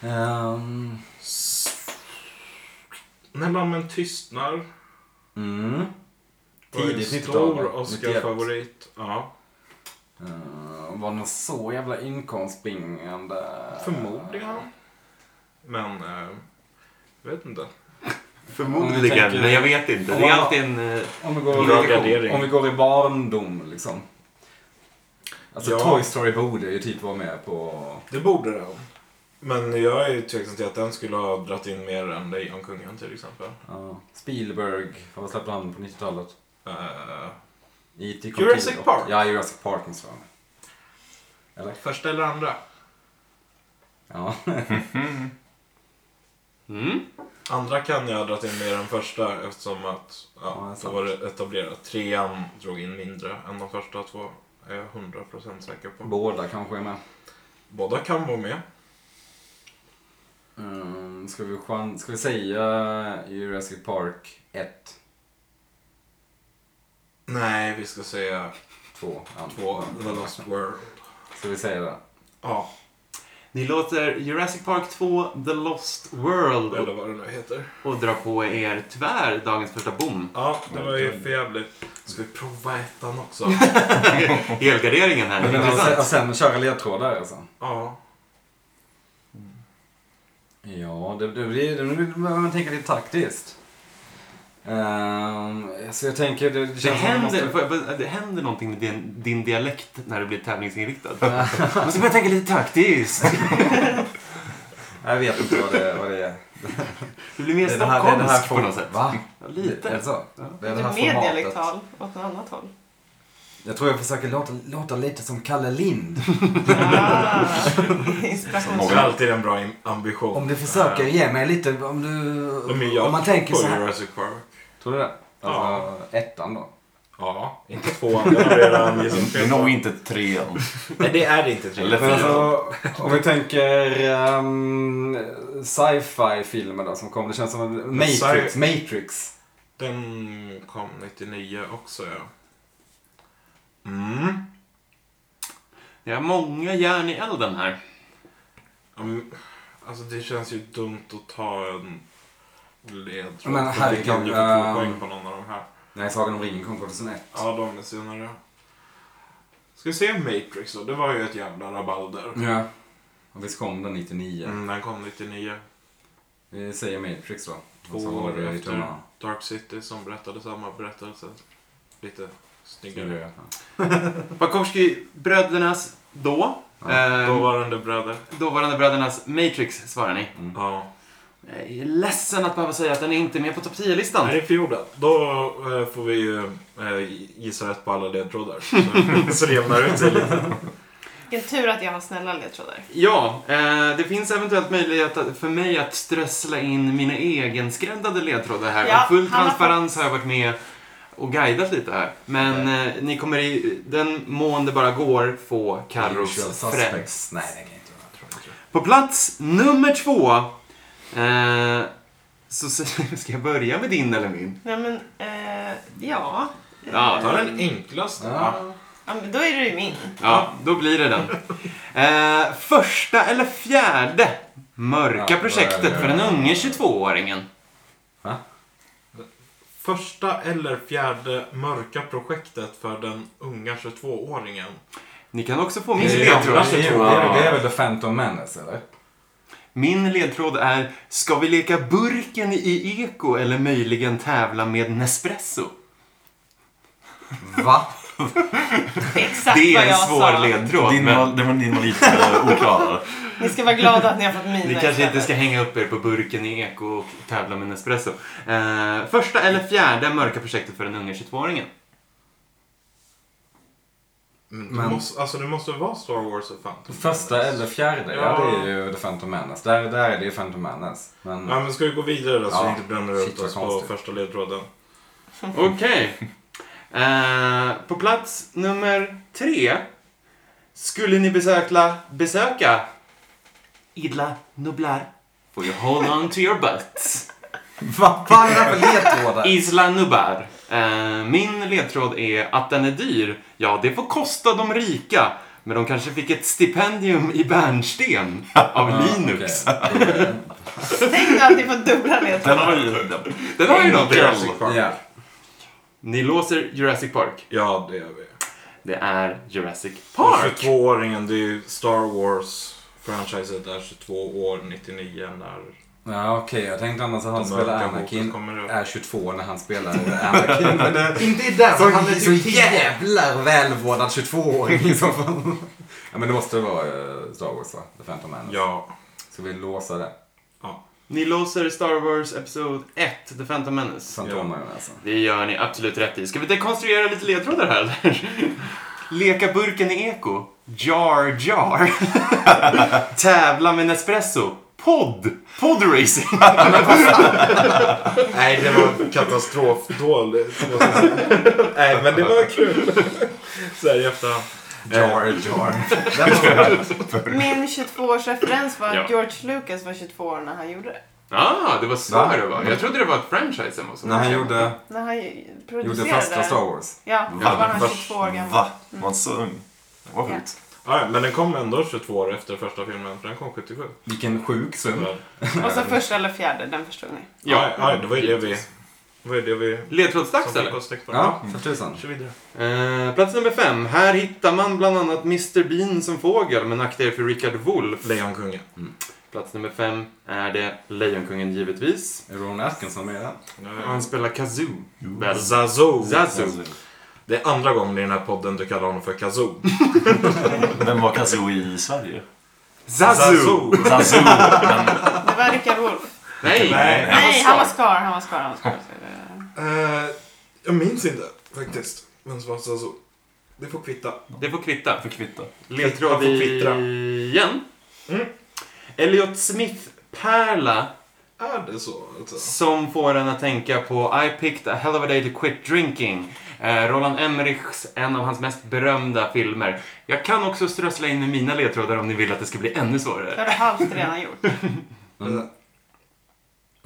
S2: Ehm,
S3: S- När lammen tystnar.
S2: mm.
S3: var en
S2: Tidigt 90-tal,
S3: stor
S2: va? 91.
S3: Oscar-favorit. Ja.
S2: Eh, var den så jävla inkomstbringande?
S3: Förmodligen. Men, eh, jag vet inte.
S2: Om vi
S1: Förmodligen,
S2: tänker-
S1: men jag vet inte.
S2: om
S1: Det är
S2: man-
S1: alltid en... eh,
S2: Om vi
S3: Bra
S2: går,
S3: gardering.
S2: om vi går i barndom liksom. Alltså
S3: Ja.
S2: Toy Story borde ju typ vara med på...
S3: Det borde den. Men jag är tveksam till att den skulle ha dragit in mer än Lejonkungen till exempel.
S2: ja. Spielberg, vad släppte han på 90-talet?
S3: Eh,
S2: E.T. kom
S3: Jurassic
S2: tidigt.
S3: Park.
S2: Ja, Jurassic Park måste vara med. Eller?
S3: första eller andra?
S2: Ja.
S1: Mm.
S3: Andra kan jag ha dragit in mer än första eftersom att
S2: Ja, det är
S3: ja, då
S2: sant.
S3: var det etablerat. Trean drog in mindre än de första två. Är jag 100% säker på.
S2: Båda kanske är med.
S3: Båda kan vara med.
S2: Mm, ska, vi chan- ska vi säga Jurassic Park 1,
S3: Nej, vi ska säga
S2: 2,
S3: två. The Lost World.
S2: Ska vi säga det?
S3: Ja,
S1: Ni låter Jurassic Park 2, The Lost World
S3: eller vad det nu heter.
S1: och dra på er tyvärr dagens första bom.
S3: Ja, det var ju för jävligt. Ska vi prova ettan också?
S1: Helgarderingen här.
S2: Men alltså, och, sen, och
S1: Intressant.
S2: sen köra ledtrådar alltså.
S3: Ja.
S2: Ja, det, det blir... Nu behöver man tänka lite taktiskt. Ehm, så jag tänker... Det, det,
S1: Det
S2: känns som man
S1: händer,
S2: måste-
S1: får jag- det händer någonting med din, din dialekt när du blir tävlingsinriktad. Måste börja tänka lite taktiskt.
S2: Jag vet inte vad det, vad det är.
S1: Du blir mer
S2: det är det här- det är det här
S1: stockholmsk på
S2: form-
S1: något sätt.
S2: Va?
S1: Ja,
S2: Är det
S1: Lite.
S2: så?
S1: Ja.
S2: Det
S4: Är
S2: är det
S4: du
S2: här
S4: mer
S2: formatet.
S4: dialektal Typ åt något annat håll?
S2: Jag tror jag försöker låta, låta lite som Kalle Lind.
S4: Ah,
S5: Som
S3: Det
S4: inspiration.
S3: är alltid en bra im- ambition.
S2: Om du försöker ge mig lite... Om
S3: Ja, men
S2: du...
S3: jag
S2: Om man tänker
S3: på
S2: så här.
S3: Jurassic Park.
S2: Tror du det? Alltså, ettan då.
S3: Ja, inte tvåan. Det har redan gissat
S5: Det är
S3: fel på.
S5: nog inte trean.
S3: Nej, det är det inte. tror jag.
S5: Eller
S2: Men
S5: fyran.
S2: alltså, om vi tänker ehm, sci-fi filmer då som kom. Det känns som en Matrix.
S3: sci-
S2: Matrix.
S3: Den kom 99 också, ja. Mm.
S1: Jag har många järn i elden här.
S3: Ja, men, Alltså, det känns ju dumt att ta en ledtråd.
S2: Men
S3: för
S2: herregud,
S3: Det kan ju få två
S2: ehm.
S3: poäng på någon av de här.
S2: Nej, Sagan om ringen kom 2001.
S3: Ja, de är senare. Ska vi se Matrix då? Det var ju ett jävla rabalder.
S2: Ja. Och visst kom den 99?
S3: Mm, den kom 99.
S2: Vi säger Matrix då.
S3: Två
S2: Och så
S3: år
S2: håller vi i
S3: efter.
S2: tummarna.
S3: Dark City som berättade samma berättelse. Lite snyggare.
S2: Ja.
S1: Bukowski-brödernas då.
S2: Ja,
S1: eh,
S3: Dåvarande bröder.
S1: Dåvarande brödernas Matrix svarar ni.
S3: Ja.
S1: Jag är ledsen att behöva säga att den är inte med på topp 10-listan.
S3: Nej, det är Fioda. Då eh, får vi ju eh, gissa rätt på alla ledtrådar. Så- Så det jämnar ut sig lite.
S4: Vilken tur att jag har snälla ledtrådar.
S1: Ja, eh, det finns eventuellt möjlighet att, för mig att strössla in mina egenskräddade ledtrådar här.
S4: Ja,
S1: Och full
S4: han har
S1: transparens har jag varit med och guidat lite här. Men eh, ni kommer i den mån det bara går få
S2: Usual
S1: Carros främst.
S2: suspects. Nej, det kan jag inte vara. tror jag inte.
S1: På plats nummer två eh, så s- ska jag börja med din eller min?
S4: Nej men, eh, ja.
S1: Ja,
S3: Ta den enklaste.
S2: Ja.
S4: ja men då är det ju min.
S1: Ja, då blir det den. Eh, första eller fjärde mörka
S2: Ja, då är
S1: projektet
S2: det-
S1: för den unge 22-åringen.
S2: Va?
S3: Första eller fjärde mörka projektet för den unga 22-åringen.
S1: Ni kan också få
S2: Det
S1: min
S2: är ju-
S1: ledtråd.
S3: Gamla
S2: det är ju-
S3: 22.
S2: det är- det är väl The Phantom Menace, eller?
S1: Min ledtråd är, ska vi leka burken i eko eller möjligen tävla med Nespresso?
S2: Va?
S4: Exakt
S1: Det är
S4: vad
S1: en
S4: jag
S1: svår
S4: sa.
S1: ledtråd,
S5: Din
S1: men
S5: var, den din var lite eh, oklar.
S4: Ni ska vara glada att ni har fått mina
S1: ni kanske inte
S4: istället.
S1: ska hänga upp er på burken i eko och tävla med Nespresso. Eh, första eller fjärde mörka projektet för den unga 22-åringen?
S3: Men,
S2: Men-
S3: Det, måste, alltså, det måste vara Star Wars och Phantom.
S2: Första
S3: Menace.
S2: eller fjärde? Ja.
S3: Ja.
S2: det är ju The Phantom Menace. Där, där är det ju Phantom Menace. Men
S3: Ja, men ska vi gå vidare då så
S2: Ja.
S3: vi inte bränner
S2: Shit,
S3: ut
S2: vad
S3: oss på
S2: konstigt.
S3: första ledtråden?
S1: Okej. Eh, på plats nummer tre skulle ni besöka, besöka Idla Nublar. Får you hold on to your butts.
S2: vad fan är det här för ledtrådar?
S1: Isla Nublar. Eh, min ledtråd är att den är dyr. Ja, det får kosta de rika. Men de kanske fick ett stipendium i bärnsten av
S3: Ah,
S1: Linux.
S2: okej.
S4: Tänk att ni får dubbla
S5: Den
S4: ledtrådar.
S5: har ju... Den.
S1: Den har ju någonting.
S3: Jurassic Park.
S2: Ja.
S1: Ni låser Jurassic Park.
S3: Ja, det gör vi.
S1: Det är Jurassic
S3: Park.
S1: Park.
S3: 22-åringen, det är ju Star Wars. Franchiset är 22 år 99 när
S2: Ja, okej. Jag tänkte annars att han
S3: De
S2: spelar
S3: mörka hoten
S2: Anakin.
S3: kommer upp.
S2: Är 22 när han spelar Anakin. Men det-
S1: Inte i den,
S2: Så,
S1: han är
S2: så
S1: typ 10.
S2: jävlar välvårdad 22-åring i så fall. Ja, men det måste vara eh, Star Wars va? The Phantom Menace.
S3: Ja.
S2: Ska vi låsa det?
S1: Ni låser Star Wars Episod 1, The Phantom Menace.
S2: Fantomen alltså.
S1: Det gör ni absolut rätt i. Ska vi dekonstruera lite ledtrådar här eller? Leka burken i eko. Jar Jar. Tävla med Nespresso. Podd. Poddracing.
S3: Nej, det var katastrofdåligt. måste jag säga. Nej, men det var kul. Så här i efterhand.
S2: Jar Jar. Den var bra.
S4: Min 22-årsreferens var
S1: Ja.
S4: att George Lucas var 22 år när han gjorde det.
S1: Ah, det var så
S2: Va?
S1: det var. Jag trodde det var ett franchise eller något sånt.
S2: När han gjorde,
S4: När han
S2: gjorde
S4: producerade.
S2: första Star Wars.
S4: Ja, då var han 22 år gammal. Mm.
S5: Va? Var han så ung? Vad sjukt.
S3: Ja, ja, men den kom ändå 22 år efter första filmen, för den kom 77.
S2: Vilken sjuk sum.
S3: Tyvärr.
S4: Och så första eller fjärde, den förstod ni.
S3: Ja, ja, det var ju det vi... Det var ju det vi...
S1: Ledtrådsdags
S3: som fick
S1: eller?
S3: oss täckt på.
S2: Ja, för tusan.
S3: Kör vidare.
S1: Eh, plats nummer fem. Här hittar man bland annat Mr Bean som fågel, men akta er för Richard Wolff.
S3: Lejonkungen.
S1: Plats nummer fem är det Lejonkungen givetvis.
S2: Är Ron Atkinson med i den?
S1: Han spelar kazoo. Väl?
S3: Zazo.
S1: Zazoo.
S3: Det är andra gången i den här podden du kallar honom för Kazoo.
S5: Vem var Kazoo i Sverige?
S1: Zazoo!
S5: Zazoo!
S4: Det var Rickard Wolff.
S1: Nej!
S3: Nej.
S4: Nej, han var Scar. Han var Scar. Han var Scar. Så det-
S3: Eh, jag minns inte faktiskt vem som var Zazo. Det får kvitta.
S1: Det får kvitta.
S5: För kvitta.
S1: Ledtråd
S3: får kvittra.
S1: igen.
S3: Mm.
S1: Elliot Smith Perla
S3: Är det så? Alltså?
S1: som får en att tänka på I picked a hell of a day to quit drinking. Eh, Roland Emmerichs, en av hans mest berömda filmer. Jag kan också strössla in med mina ledtrådar om ni vill att det ska bli ännu
S4: Det
S1: svårare.
S4: har du halvt redan gjort.
S2: Mm.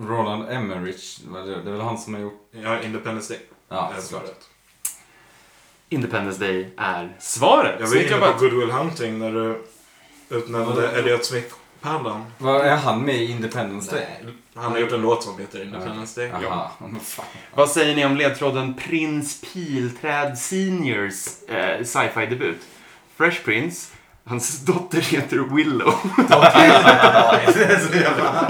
S2: Roland Emmerich, vad är det? det är väl han som har gjort...
S3: Ja, Independence Day.
S2: Ja,
S3: är
S2: såklart.
S3: svaret.
S1: Independence Day är svaret.
S3: Jag var
S1: Snyggt
S3: inne på
S1: jobbat.
S3: Good Will Hunting när du utnämnde Elliot Smith Pandan.
S2: Vad Är han med i Independence Day?
S3: Han har gjort en låt som heter Independence Day.
S2: Aha, men fan.
S1: Vad säger ni om ledtråden Prins Pilträd Seniors eh, sci-fi debut? Fresh Prince, hans dotter heter Willow.
S2: Det är så jävla...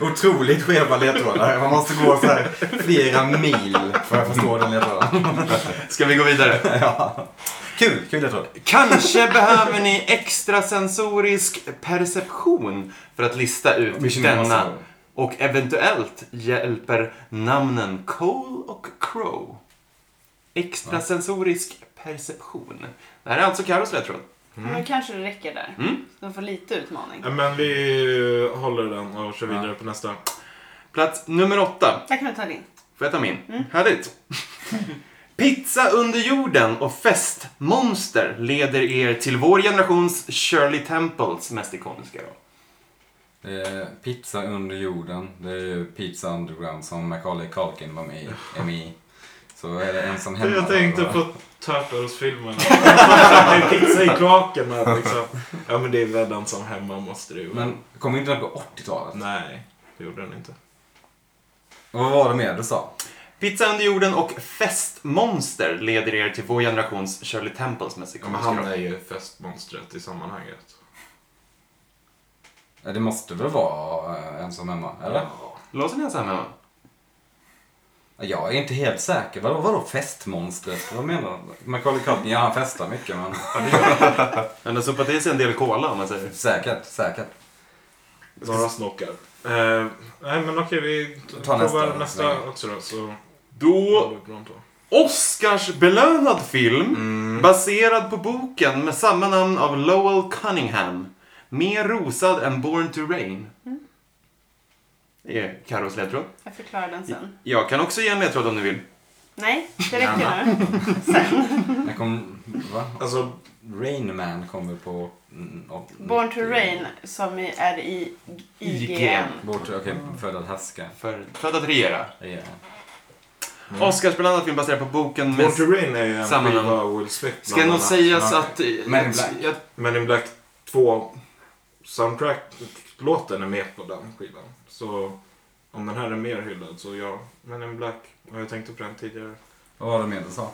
S2: Otroligt skeva ledtrådar. Man måste gå så här flera mil för att förstå den ledtråden.
S1: Ska vi gå vidare?
S2: Ja. Kul, kul ledtråd.
S1: Kanske behöver ni extrasensorisk perception för att lista ut
S2: Mission
S1: denna.
S2: Impossible.
S1: Och eventuellt hjälper namnen Cole och Crow. Extrasensorisk perception. Det här är alltså Carros ledtråd.
S4: Men kanske det räcker där.
S1: Mm.
S4: De får lite utmaning.
S3: Ja, Men vi håller den och kör vidare på nästa.
S1: Plats nummer åtta.
S4: Där kan du ta din.
S1: Får jag ta min? Härligt. Pizza under jorden och festmonster leder er till vår generations Shirley Temples mest ikoniska roll.
S2: Eh, pizza under jorden. Det är ju Pizza Underground som Macaulay Culkin var med i. Är med i. Så är det ensam hemma.
S3: Jag tänkte
S2: va?
S3: på Turtles-filmen. Med pizza i kloakerna liksom. Ja men det är väl den som hemma måste det ju vara.
S2: Men kom inte den på 80-talet?
S3: Nej, det gjorde den inte.
S2: Och Vad var det mer du sa?
S1: Pizza under jorden och festmonster leder er till vår generations Shirley Temples mest
S3: Ja, men
S1: ikoniska
S3: han
S1: roll.
S3: är ju festmonstret i sammanhanget.
S2: Ja, Eh, Det måste väl vara eh, ensam hemma? Eller?
S1: Låser ni hans här hemma?
S2: Jag är inte helt säker. Vadå, vadå festmonstret? Vad menar du? Macaulay Culkin, ja han festar mycket men...
S1: Han har sopat i sig en del cola om man säger.
S2: Säkert, säkert.
S3: Några snockar. Eh, nej men okej, vi t-
S2: Ta nästa.
S3: provar nästa också då. Så
S1: Då
S3: håller vi på dem då.
S1: Oscarsbelönad film
S3: Mm.
S1: baserad på boken med samma namn av Lowell Cunningham. Mer rosad än Born to Rain. Det är Carros ledtråd.
S4: Jag förklarar den sen.
S1: Jag kan också ge en ledtråd om ni vill.
S4: Nej, det räcker nu. Sen.
S2: Jag kom... Va?
S3: Alltså,
S2: Rain Man kom väl på... mm, åt-
S4: Born to Rain som i- är i IGN.
S1: IGN.
S2: Born to... Okej, Född att härska.
S1: För, för att regera.
S2: Ja.
S3: Mm.
S1: Oscarsbelönad film baserad på boken
S3: Born
S1: med...
S3: to Rain är ju en
S1: samma
S3: skiva
S1: namn.
S3: av Will Smith.
S1: Ska
S3: bland
S1: nog
S3: annat.
S1: sägas
S2: Ja.
S1: att... eh,
S2: Men in Black.
S1: jag,
S3: Men in Black 2 soundtrack-låten är med på den skivan. Så om den här är mer hyllad så ja. Men in Black, och jag tänkte på den tidigare.
S2: Vad var det mer du sa?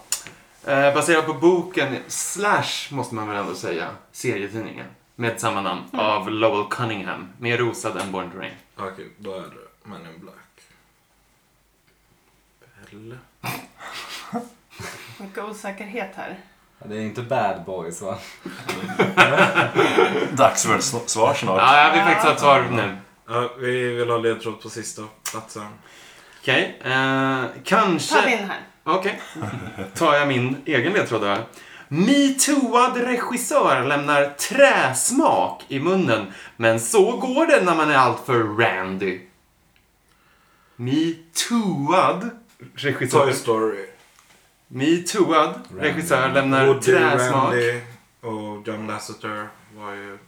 S1: eh, baserad på boken slash, måste man väl ändå säga, serietidningen. Med samma namn,
S3: Mm.
S1: av Lowell Cunningham. Mer rosad än Born to Rain.
S3: Okej, då är det Men in Black. Eller?
S4: Mycket osäkerhet här.
S2: Ja, Det är inte Bad Boys va?
S5: Dags för ett sn- svar snart.
S1: Ja, jag vill faktiskt ha ett svar nu.
S3: Ja, vi vill ha ledtråd på sista platsen.
S1: Okej. Eh, kanske...
S4: Ta din här.
S1: Okej. Tar jag min egen ledtråd då. Metooad regissör lämnar träsmak i munnen. Men så går det när man är alltför randy. Metooad regissör.
S3: Toy Story.
S1: Metooad regissör lämnar
S3: Woody,
S1: träsmak.
S3: Randy och John Lasseter var ju...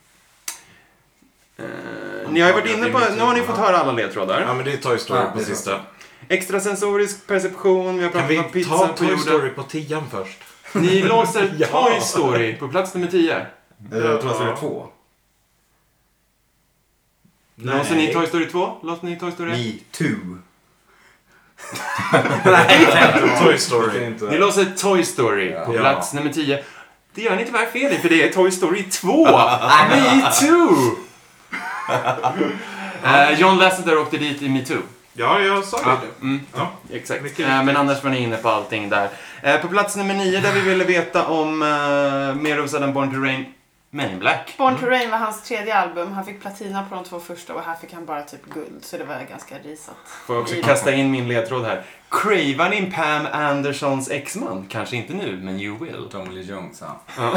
S1: Eh, ni har ju varit inne på, nu har ni fått höra alla ledtrådar.
S3: Ja men det är Toy Story
S2: Ja,
S3: på
S2: det är
S3: sista.
S1: Extrasensorisk perception, vi har
S3: Kan
S1: pratat om
S3: vi
S1: pizza
S3: ta
S1: på
S3: Toy Story
S1: jorden.
S3: på tian först?
S1: Ni låser
S3: Ja.
S1: Toy Story på plats nummer 10.
S2: Jag tror att det är två.
S1: Låser ni Toy Story 2? Låser ni Toy Story 1?
S2: Me too.
S3: Toy
S2: Det är
S3: Story.
S2: inte-
S1: Ni låser Toy Story på
S2: Ja.
S1: plats nummer 10. Det gör ni tyvärr fel i, för det är Toy Story 2! Me too! Eh, John Lasseter åkte dit i Me too.
S3: Ja, jag sa ju det.
S1: Mm.
S3: Ja.
S1: Exakt.
S3: Mycket
S1: Eh, men annars var ni inne på allting där. Eh, på plats nummer 9 där vi ville veta om eh, mer rosad än Born to Rain, Men in Black.
S4: Born to Rain var hans tredje album. Han fick platina på de två första och här fick han bara typ guld. Så det var ganska risat.
S1: Får jag
S3: Mm.
S1: också kasta in min ledtråd här. Cravar ni Pam Andersons exman? Kanske inte nu, men you will.
S2: Tommy Lee Jones ja.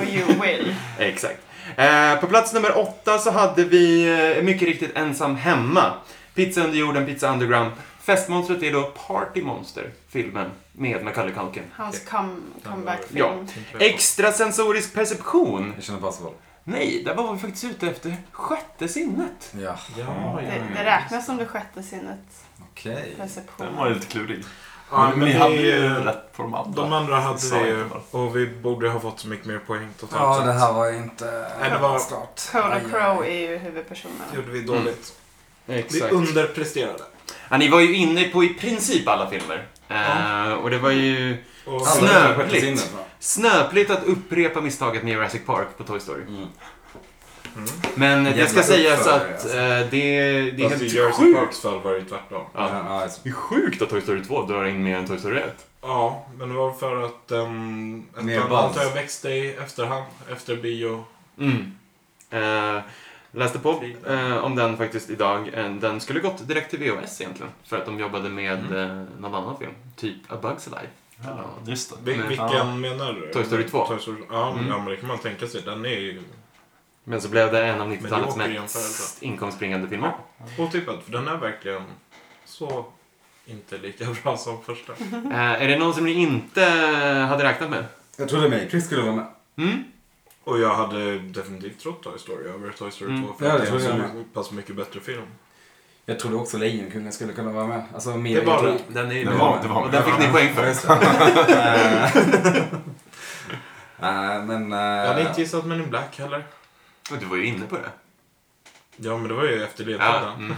S4: Och You Will.
S1: Exakt. Eh, på plats nummer åtta så hade vi eh, mycket riktigt Ensam Hemma. Pizza under jorden, Pizza Underground. Festmonstret är då Party Monster, filmen med Macaulay Culkin.
S4: Hans come, comeback-film.
S1: Extrasensorisk perception.
S2: Mission Impossible.
S1: Nej, där var vi faktiskt ute efter sjätte sinnet.
S2: Ja.
S3: Ja, ja.
S4: Det, det räknas som det sjätte sinnet.
S2: Okej.
S5: Mm. Den var
S4: Perception.
S5: lite klurig.
S3: ja
S5: men
S3: men
S5: ni hade ju
S3: vi,
S5: rätt på de andra.
S3: de andra hade
S5: Sa
S3: vi
S5: jag
S3: ju.
S5: bara.
S3: Och vi borde ha fått så mycket mer poäng totalt
S2: Ja,
S3: sett.
S2: det här var ju inte...
S3: Nej, det var-
S2: start.
S4: Cola
S2: Aj, aj.
S4: Crow är ju huvudpersonen.
S3: gjorde vi dåligt.
S1: Exakt.
S3: Vi underpresterade.
S1: Ja, ni var ju inne på i princip alla filmer. Eh, och det var ju
S3: Och
S2: Alla
S1: Snö.
S2: utom Sjätte sinnet, va?
S1: snöpligt att upprepa misstaget med Jurassic Park på Toy Story.
S2: Mm.
S3: Mm.
S1: Men det
S2: Jävla
S1: ska sägas
S2: uppförare,
S1: att
S2: alltså.
S1: eh, det, det är
S3: Fast i
S1: helt
S3: Jersey
S1: sjukt.
S3: Parks fall var det ju tvärtom.
S1: Ja.
S2: Ja, just-
S1: Det är sjukt att Toy Story 2 drar in mer än Toy Story 1.
S3: Ja, men det var för att um,
S2: Mer
S3: ettan
S2: buzz.
S3: antar jag växte i efterhand, efter bio.
S1: Mm. Eh, läste på eh, om den faktiskt idag. Eh, den skulle gått direkt till VHS egentligen. För att de jobbade med eh, någon annan film. Typ A Bugs Life.
S5: Ja, just det.
S3: Vil-
S1: Men-
S3: vilken
S5: ja.
S3: menar du?
S1: Toy Story 2.
S3: Toy Story, ja,
S1: Mm.
S3: ja, men det kan man tänka sig. Den är ju
S1: Men så blev det en av
S3: Men det
S1: 90-talets
S3: åker i
S1: mest
S3: jämförelse.
S1: inkomstbringande filmer.
S3: otippad, för den är verkligen så inte lika bra som första.
S1: Eh, är det någon som ni inte hade räknat med?
S2: Jag trodde Matrix skulle vara med.
S1: Mm?
S3: Och jag hade definitivt trott Toy Story över Toy Story 2 för
S2: Mm. Ja,
S3: att
S2: det
S3: det är
S2: tror jag
S3: en så
S2: med.
S3: pass mycket bättre film.
S2: Jag trodde också Lejonkungen skulle kunna vara med. Alltså, mer
S3: Det var
S2: jag
S3: den.
S2: tror-
S3: Den är
S5: Det
S3: ju bra.
S5: var, det var
S1: Och den fick ni poäng för.
S2: Nej, men... eh,
S3: Jag hade inte gissat Men in Black heller.
S1: Och Du var ju inne på det.
S3: Ja, men det var ju efter
S1: Ja,
S3: ledtråden.
S1: mm.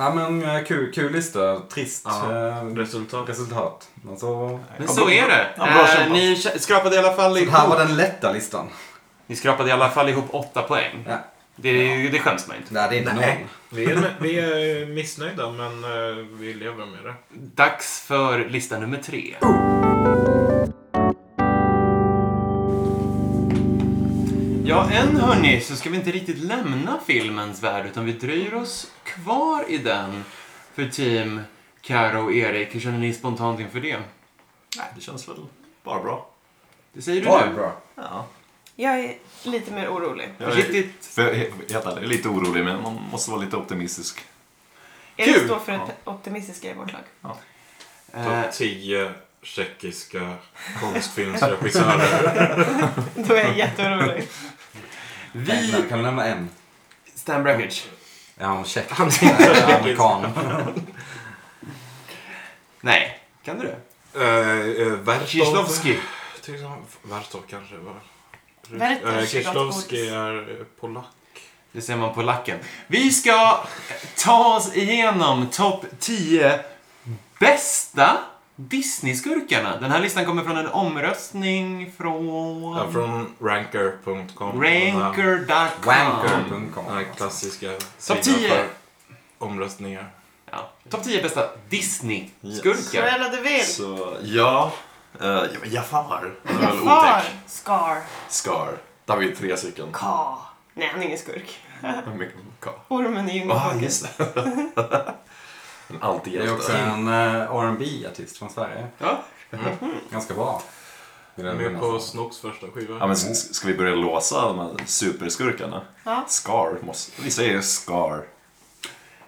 S2: Ja, men eh, kul, kul lista. Trist
S3: Ja.
S2: eh,
S3: Resultat.
S2: resultat. Men så...
S1: Men så är det.
S5: Ja, bra
S1: Eh,
S5: kämpat.
S1: ni kä- skrapade i alla fall
S2: Det
S1: ihop...
S2: här var den lätta listan.
S1: Ni skrapade i alla fall ihop åtta poäng.
S2: Ja.
S1: Det, det skäms man inte.
S2: Nej, det är inte
S3: Nej.
S2: någon.
S3: Vi är, vi är missnöjda, men eh, vi lever med det.
S1: Dags för lista nummer tre. Ja, än hörni så ska vi inte riktigt lämna filmens värld utan vi dröjer oss kvar i den för team Karo och Erik. Hur känner ni spontant inför det?
S5: Nej, det känns väl bara bra.
S1: Det säger du
S2: Var det
S1: nu.
S2: bra?
S5: Ja.
S4: Jag är lite mer orolig.
S5: Jag är,
S1: Riktigt.
S5: för jag är helt ärlig, jag är lite orolig, men man måste vara lite optimistisk.
S4: Erik
S1: Kul!
S4: står för det optimistiska i vårt lag.
S1: Eh,
S3: Topp 10 tjeckiska konstfilmsregissörer.
S4: Då är jag jätteorolig.
S1: vi...
S2: Nej, Kan du nämna en?
S1: Stan Brakhage.
S2: Eh, Ja, hon check. Han är amerikan.
S1: Nej, kan du det?
S3: Eh, eh, Vertov.
S1: Kislovski.
S3: Till exempel. Vertov kanske var.
S4: Vertov,
S3: Eh,
S4: Kislovski.
S3: Kislovski är eh, polack.
S1: Det ser man på lacken. Vi ska ta oss igenom topp 10 bästa Disney-skurkarna. Den här listan kommer från en omröstning från...
S3: Ja, från ranker.com.
S1: Ranker.com.
S3: Den
S2: Wanker.com.
S3: här eh, klassiska
S1: Topp
S3: sidan
S1: 10!
S3: för omröstningar.
S1: Ja. Topp 10 bästa Disney-skurkar.
S4: Cruella de Vil.
S5: Så ja, eh, ja, men Jafar. Han är väl
S4: Jafar.
S5: otäck.
S4: Scar.
S5: Scar. Där har vi tre stycken.
S4: Ka. Nej, han är ingen skurk.
S5: K.
S4: Ormen är ju ingen
S5: Ah,
S4: skurk.
S5: just det. en
S2: Det är också
S5: antihjälte.
S2: en eh, rb artist från Sverige.
S1: Ja.
S2: Ganska bra. Vill jag
S3: Med
S2: minnas.
S3: på
S1: alltså.
S3: Snooks första skiva.
S5: Ja, men s- s- ska vi börja låsa de här superskurkarna?
S4: Ja.
S5: Scar måste... Vi säger Scar.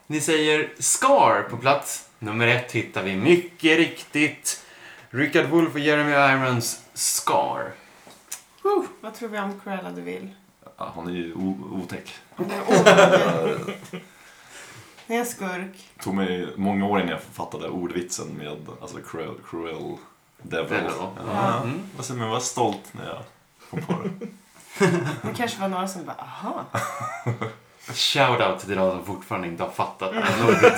S1: Ni säger Scar på plats nummer ett hittar vi mycket riktigt Richard Wolff och Jeremy Irons Scar.
S4: Woo. Vad tror vi om Cruella de Vil?
S5: Ja, hon är ju o- otäck.
S4: Han är ormen. Han är en skurk.
S5: tog mig många år innan jag fattade ordvitsen med alltså, cruel, cruel devil.
S1: Devil, va?
S5: Ja.
S1: Mm.
S5: Alltså, men jag var stolt när jag kom på det.
S4: Det kanske var några som bara, aha.
S1: Shoutout till de som fortfarande inte har fattat det här ordet.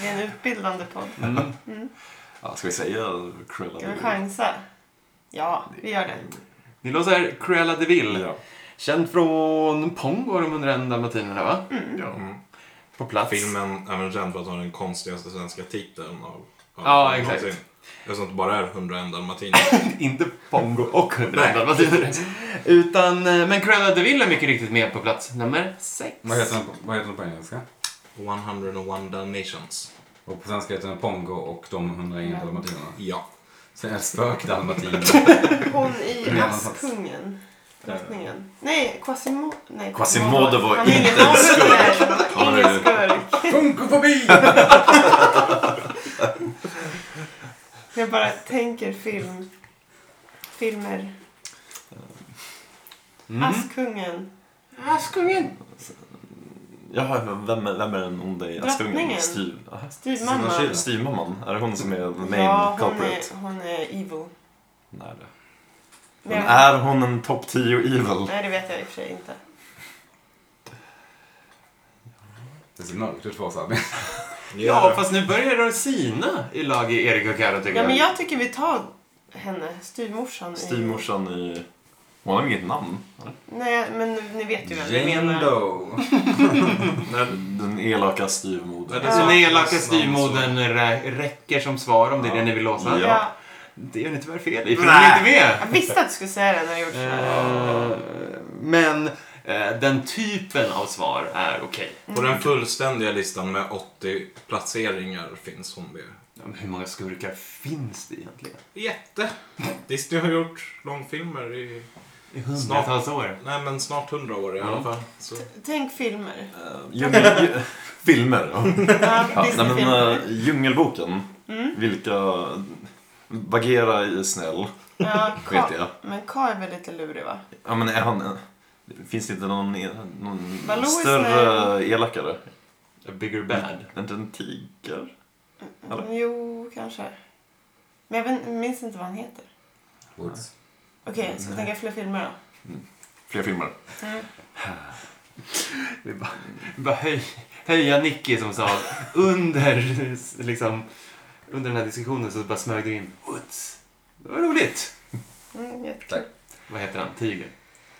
S4: Det är en utbildande podd.
S1: Mm.
S5: Ja, ska vi säga Cruella
S4: Ska vi
S5: devil?
S4: chansa? Ja, vi gör det.
S1: Ni låser Cruella de Vil.
S5: Ja.
S1: Känd från Pongo och de 101 dalmatinerna va?
S3: Mm.
S1: På plats.
S3: Filmen är väl känd för att ha den konstigaste svenska titeln av, av
S1: Ja, exakt.
S3: någonsin. Eftersom det bara är 101 dalmatiner.
S1: Inte Pongo och 101
S3: Nej.
S1: dalmatiner. Utan, eh, men Cruella de Vil är mycket riktigt med på plats nummer sex.
S2: Vad heter den på- vad heter den på engelska?
S3: 101 dalmatians.
S2: Och på svenska heter den Pongo och de 101 dalmatinerna.
S3: Ja.
S2: Sen är det spökdalmatiner.
S4: Hon i
S2: Redan
S4: Askungen. Drottningen. Nej, Quasimo... Nej,
S5: Quasimodo var
S4: Han är
S5: inte
S4: ingen
S5: en
S4: skurk.
S5: Han är-
S4: Ingen skurk.
S2: Funkofobi!
S4: Jag bara tänker film. Filmer.
S5: Mhm.
S1: Mm.
S4: Askungen.
S1: Askungen.
S5: Jaha, men vem, vem är den onda i Askungen?
S4: Drottningen.
S5: Styr, aha.
S4: Styvmamman.
S2: Sina kyl.
S5: Styrmamman? Är det hon som är the main
S4: Ja, hon
S5: culprit?
S4: är, hon är evil.
S5: Nej, det.
S4: Men,
S5: Men är hon en topp 10 evil?
S4: Nej, det vet jag i och för sig inte.
S2: Det ser mörkt ut för oss Albin.
S1: Ja, fast nu börjar det sina i lag i Erik och Karo tycker
S4: Ja, men jag tycker vi tar henne, styvmorsan. i-
S5: Styrmorsan i... Hon har inget namn? eller?
S4: Nej, men ni vet ju vem jag
S2: Jane
S4: menar.
S2: Doe.
S3: Nej,
S5: Den elaka styrmodern.
S3: Ja.
S1: Den elaka styvmodern rä- räcker som svar om det är det ni vill låsa.
S5: Ja.
S4: Ja.
S1: Det gör ni tyvärr fel i, för den är inte med.
S4: Jag visste att du skulle säga det när jag gjorde sådär.
S1: Eh, men eh, den typen av svar är okej.
S3: På den fullständiga listan med 80 placeringar finns hon med.
S1: Ja, men Hur många skurkar finns det egentligen?
S3: Jätte! Disney har gjort långfilmer i
S1: I hundratals år.
S3: nej, men snart 100 år i alla
S1: Ja.
S3: fall. Så.
S4: Tänk filmer.
S5: Eh, djungel, ju, filmer. ja.
S4: Ja, Mm.
S5: Ja, nej, men,
S4: Disneyfilmer.
S5: eh, djungelboken. Vilka... Bagheera är snäll,
S4: Ja,
S5: vet
S4: Ka-
S5: jag.
S4: men Ka är väl lite lurig va?
S5: Ja, men är han... eh, Finns det inte någon, eh, någon
S4: Baloo är
S5: större elakare?
S1: A bigger bad.
S5: Är inte en tiger? Eller?
S4: Mm, Jo, kanske. Men jag vet- minns inte vad han heter.
S2: Woods.
S4: Okej, ska vi tänka fler filmer då?
S5: Fler filmer.
S1: Vi bara, vi bara höj, höja Nicky som sa under, liksom, under den här diskussionen så bara smög du in Woods. Det var roligt.
S4: Mm, jättekul.
S2: Tack.
S1: Vad heter han? Tiger?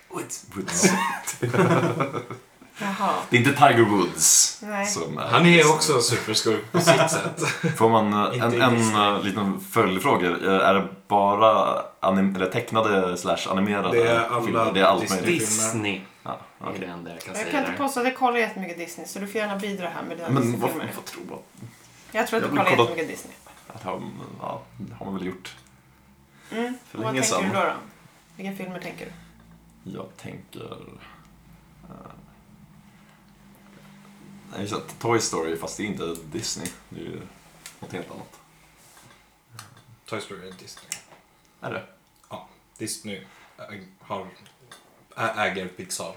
S1: Woods.
S5: Woods.
S4: Jaha.
S5: Det är inte Tiger Woods.
S4: Nej.
S5: Som
S3: Han är också en superskurk på sitt sätt.
S5: Får man eh,
S3: Inte
S5: en,
S3: i
S5: en
S3: Disney.
S5: eh, liten följdfråga? Eh, Är det bara anim- eller tecknade slash animerade
S3: Det är alla
S5: filmer? Det är allt
S3: Disney.
S5: möjligt.
S1: Disney.
S5: Ja,
S1: Det är
S5: okej.
S1: det enda jag kan
S4: Jag
S1: säga
S4: kan inte
S1: där.
S4: påstå att jag kollar jättemycket Disney, så du får gärna bidra här med dina
S5: Men vad,
S4: Disney-filmer.
S5: vad tror man?
S4: Jag tror att
S5: jag
S4: du
S5: vill
S4: kollar
S5: kolla-
S4: jättemycket Disney.
S5: Att han, ja, det har man väl gjort.
S4: Mm.
S5: För
S4: Och vad
S5: länge
S4: tänker
S5: sedan.
S4: du då, då? Vilka filmer tänker du?
S5: Jag tänker... eh, Nej, just det, Toy Story, fast det är inte Disney. Det är ju något helt annat.
S3: Toy Story är Disney.
S5: Är det?
S3: Disney äh, äg- har, ä- äger Pixar.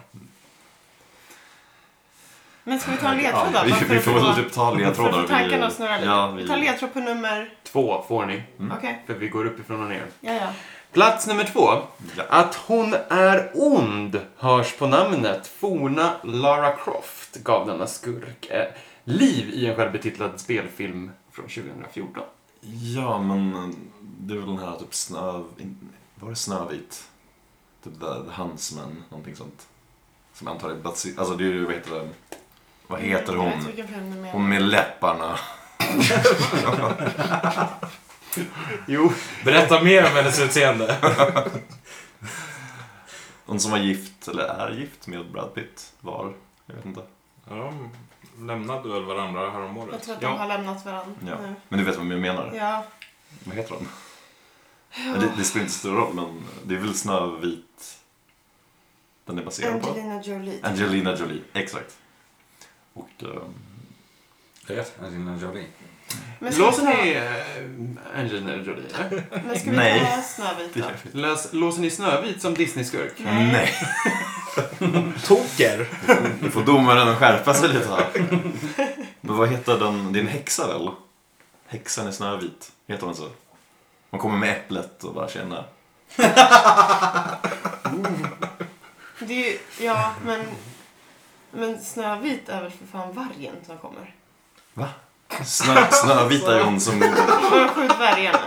S4: Men ska vi ta en ledtråd då?
S5: Ja, vi,
S4: Bara för
S5: vi
S4: att
S5: får väl
S4: få-
S5: typ ta ledtrådar.
S4: För att tankarna att snurra lite.
S5: ja,
S4: vi...
S5: vi- Mm.
S4: tar ledtråd på nummer...
S1: Två får ni,
S4: Okej.
S1: för vi går uppifrån och ner.
S4: Ja, ja.
S1: Plats nummer två.
S5: Ja.
S1: Att hon är ond hörs på namnet. Forna Lara Croft gav denna skurk eh, liv i en självbetitlad spelfilm från 2014.
S5: Ja, men eh, det är väl den här typ snö... in- Var det Snövit? Typ The, the Huntsman, någonting sånt. Som jag antar är basi- Alltså det är ju, vad heter den? Vad heter
S4: Jag vet
S5: hon?
S4: vilken film du menar.
S5: Hon med läpparna.
S1: Jo,
S2: Berätta mer om hennes utseende.
S5: Hon som var gift, eller är gift med Brad Pitt. Var? Jag vet inte.
S2: Ja, de lämnade väl varandra
S4: Jag
S2: häromåret?
S4: tror att
S1: Ja.
S4: de har lämnat varandra
S5: Ja.
S4: nu.
S5: Men du vet vad jag menar?
S4: Ja.
S5: Vad heter hon? Ja. Det, det spelar inte så stor roll, men det är väl Snövit den är baserad på?
S4: Angelina Jolie.
S5: Angelina Jolie, exakt. Och... ehm,
S2: Rätt. Angelina Jolie.
S4: Men ska vi
S1: låser
S4: ta,
S1: ni eh, Angelina Jolie? eller?
S4: men ska vi
S5: Nej.
S4: ta Snövit
S5: det
S4: då?
S5: gör vi.
S1: Läs- Låser ni Snövit som Disney-skurk?
S5: Nej.
S3: Toker!
S5: Nu får domaren skärpa sig lite här. Men vad heter den? Det är en häxa väl? Häxan i Snövit. Heter hon så? Hon kommer med äpplet och bara känner.
S4: Det är ju, ja, men... Men Snövit är väl för fan vargen som kommer?
S5: Snö, Snövit är ju hon som...
S4: Bara skjut vargarna.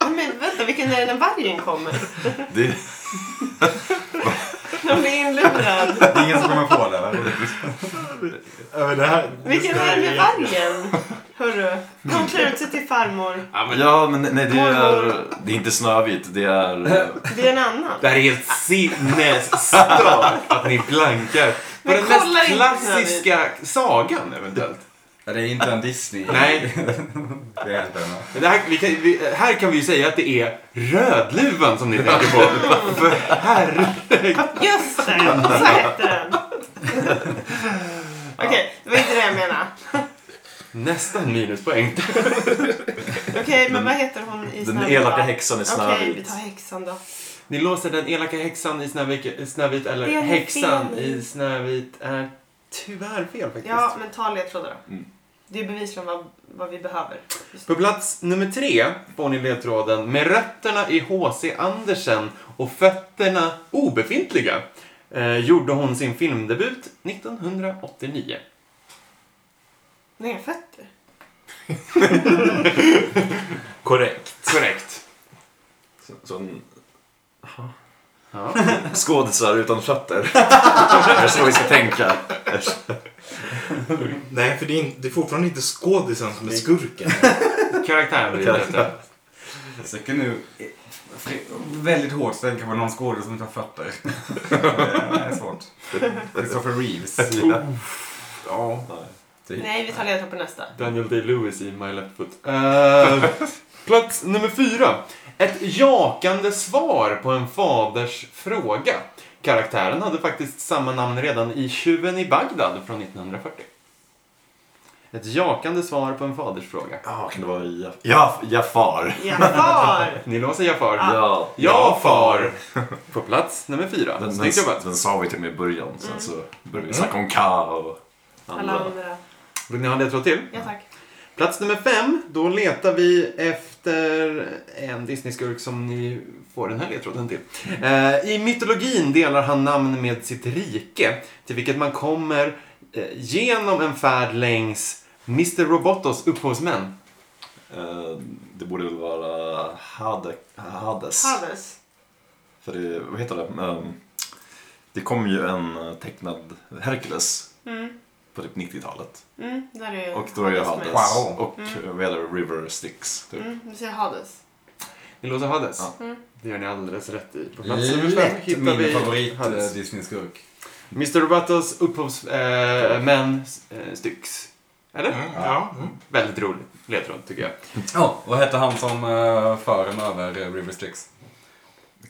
S4: Nej, men vänta, vilken är det när vargen kommer?
S5: Det är,
S4: De blir inlurad.
S2: Det är ingen som kommer på det, eller?
S3: det här,
S4: Vilken är det med vargen? Hörru, de klär ut sig till farmor.
S1: Ja, men
S5: ja, men nej, det är, det är inte Snövit. Det är... eh,
S4: Det är en annan.
S1: Det här är helt sinnesstört att ni blankar på
S4: Men
S1: den mest
S4: kolla inte
S1: klassiska sagan eventuellt.
S2: Ja, Det är inte en Disney.
S1: Nej,
S2: Det är inte en.
S1: men det här, vi kan, vi, här kan vi ju säga att det är Rödluvan som ni tänker på. För herregud.
S4: Just det, så hette den. Okej, det var inte det jag menade.
S1: Nästan minuspoäng.
S4: Okej, men
S5: Den-
S4: vad heter hon i
S5: Den
S4: Snövit
S5: elaka
S4: då?
S5: häxan i
S4: Okej, vi
S5: Snövit.
S4: tar häxan då.
S1: Ni låser den elaka häxan i Snövit, Snövit eller
S4: Det är
S1: häxan
S4: fel.
S1: i Snövit är tyvärr fel faktiskt.
S4: Ja, men ta ledtrådar då.
S5: Mm.
S4: Det är bevisligen vad, vad vi behöver. Just
S1: På plats nummer tre får ni ledtråden med rötterna i H.C. Andersen och fötterna obefintliga. Eh, gjorde hon sin filmdebut 1989.
S4: Nej, fötter.
S3: Korrekt.
S1: Korrekt.
S5: Så, så en
S1: Ja.
S5: skådisar utan fötter. det är så vi ska tänka.
S3: Nej, för det är, in, det är fortfarande inte skådisen som är skurken.
S1: Karaktären vi är ute efter.
S2: Jag försöker nu väldigt hårt tänka på någon skådespelare som inte har fötter. Det är svårt. Christopher Reeves.
S3: Ja.
S2: Typ.
S4: Nej, vi tar ledtråd på nästa.
S1: Daniel Day-Lewis i My Left Foot. Eh, plats nummer fyra. Ett jakande svar på en faders fråga. Karaktären hade faktiskt samma namn redan i Tjuven i Bagdad från 1940. Ett jakande svar på en faders fråga.
S5: Ja, kan det vara Jaf- Ja, Jafar?
S4: Jafar!
S1: Ni låser jag far.
S5: Ja.
S1: Ah. Ja, far! På plats nummer fyra.
S5: Den,
S1: Snyggt
S5: den,
S1: jobbat.
S5: den sa vi till och med i början, sen så började vi snacka om K och
S4: Alla
S5: andra.
S4: andra.
S1: Vill ni ha en ledtråd till?
S4: Ja, tack.
S1: Plats nummer fem. Då letar vi efter en Disney-skurk som ni får den här ledtråden till. Eh, I mytologin delar han namn med sitt rike, till vilket man kommer eh, genom en färd längs Mr. Robotos upphovsmän.
S5: Eh, det borde väl vara Hade, Hades.
S4: Hades.
S5: För det, vad heter det? Ehm, det kom ju en eh, tecknad Hercules
S4: Mm,
S5: på typ 90-talet.
S4: mm, där är
S5: Och då är det
S4: Hades med.
S5: Hades.
S2: Wow.
S5: Och eh, vad heter det? River Styx. Typ.
S4: Mm, vi säger Hades.
S1: Ni låter Hades?
S5: Ja.
S4: Mm.
S1: Det gör ni alldeles rätt i. På plats nummer fem
S2: Lätt
S1: hittar vi
S2: min favorit
S1: Hades.
S2: eh, Disney-skurk.
S1: Mr. Robotos eh, upphovsmän äh, Styx. Eller?
S3: ja. Mm.
S1: Väldigt rolig ledtråd tycker jag.
S2: Ja, vad hette han som eh, för den över eh, River Styx?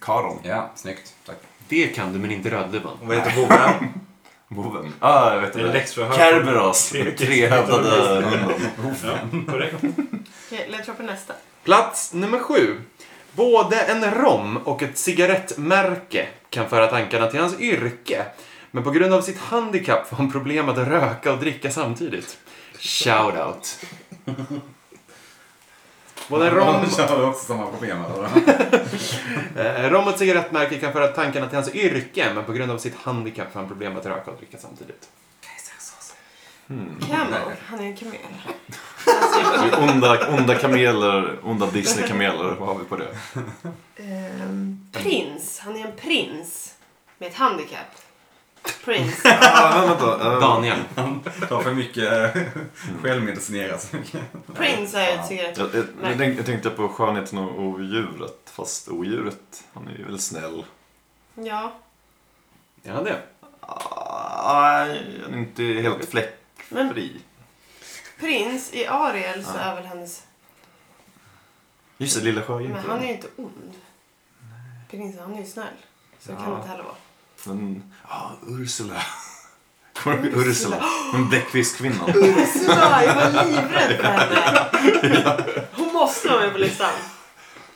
S5: Karon.
S2: Ja, snyggt. Tack.
S1: Det kan du men inte Rödluvan.
S3: Och vad heter boven?
S5: Boven. Ja, ah, jag vet
S3: Det är
S5: det.
S3: läxförhör.
S5: Kerberos.
S3: Tre-
S5: Trehövdade hunden.
S3: Ja, korrekt.
S4: Okej, ledtråd på nästa.
S1: Plats nummer sju. Både en rom och ett cigarettmärke kan föra tankarna till hans yrke. Men på grund av sitt handikapp får han problem att röka och dricka samtidigt. Shoutout. Både rom,
S2: De hade också samma problem. eller?
S1: eh, rom och cigarettmärke kan föra tankarna till hans yrke, men på grund av sitt handikapp får han problem att röka och dricka samtidigt.
S5: Hmm.
S4: Camel. Han är en kamel.
S5: Onda, onda kameler, onda Disney-kameler, vad har vi på det?
S4: Ehm, prins. Han är en prins. Med ett handikapp. Prins. Ja,
S5: Ah, vänta, eh,
S1: Daniel.
S2: Tar för mycket eh, självmedicinerat.
S4: prins är ett
S5: Jag,
S4: cigarett.
S5: jag, jag, tänkte, jag tänkte på skönheten och odjuret, fast odjuret, han är ju väldigt snäll.
S4: Ja.
S1: Är han det?
S5: Ah, han är inte helt
S4: Men
S5: fläckfri.
S4: prins i Ariel så är väl hennes...
S5: Just det, Lilla
S4: Men
S5: Sjöjungfrun.
S4: han är ju inte ond. Prins, han är ju snäll. Så det kan
S1: Ja.
S4: han inte heller vara.
S5: Men, ja, Ursula. Kommer du ihåg Ursula? Men Bläckfiskkvinnan.
S4: Ursula, jag var livrädd för henne. Hon måste vara med på listan.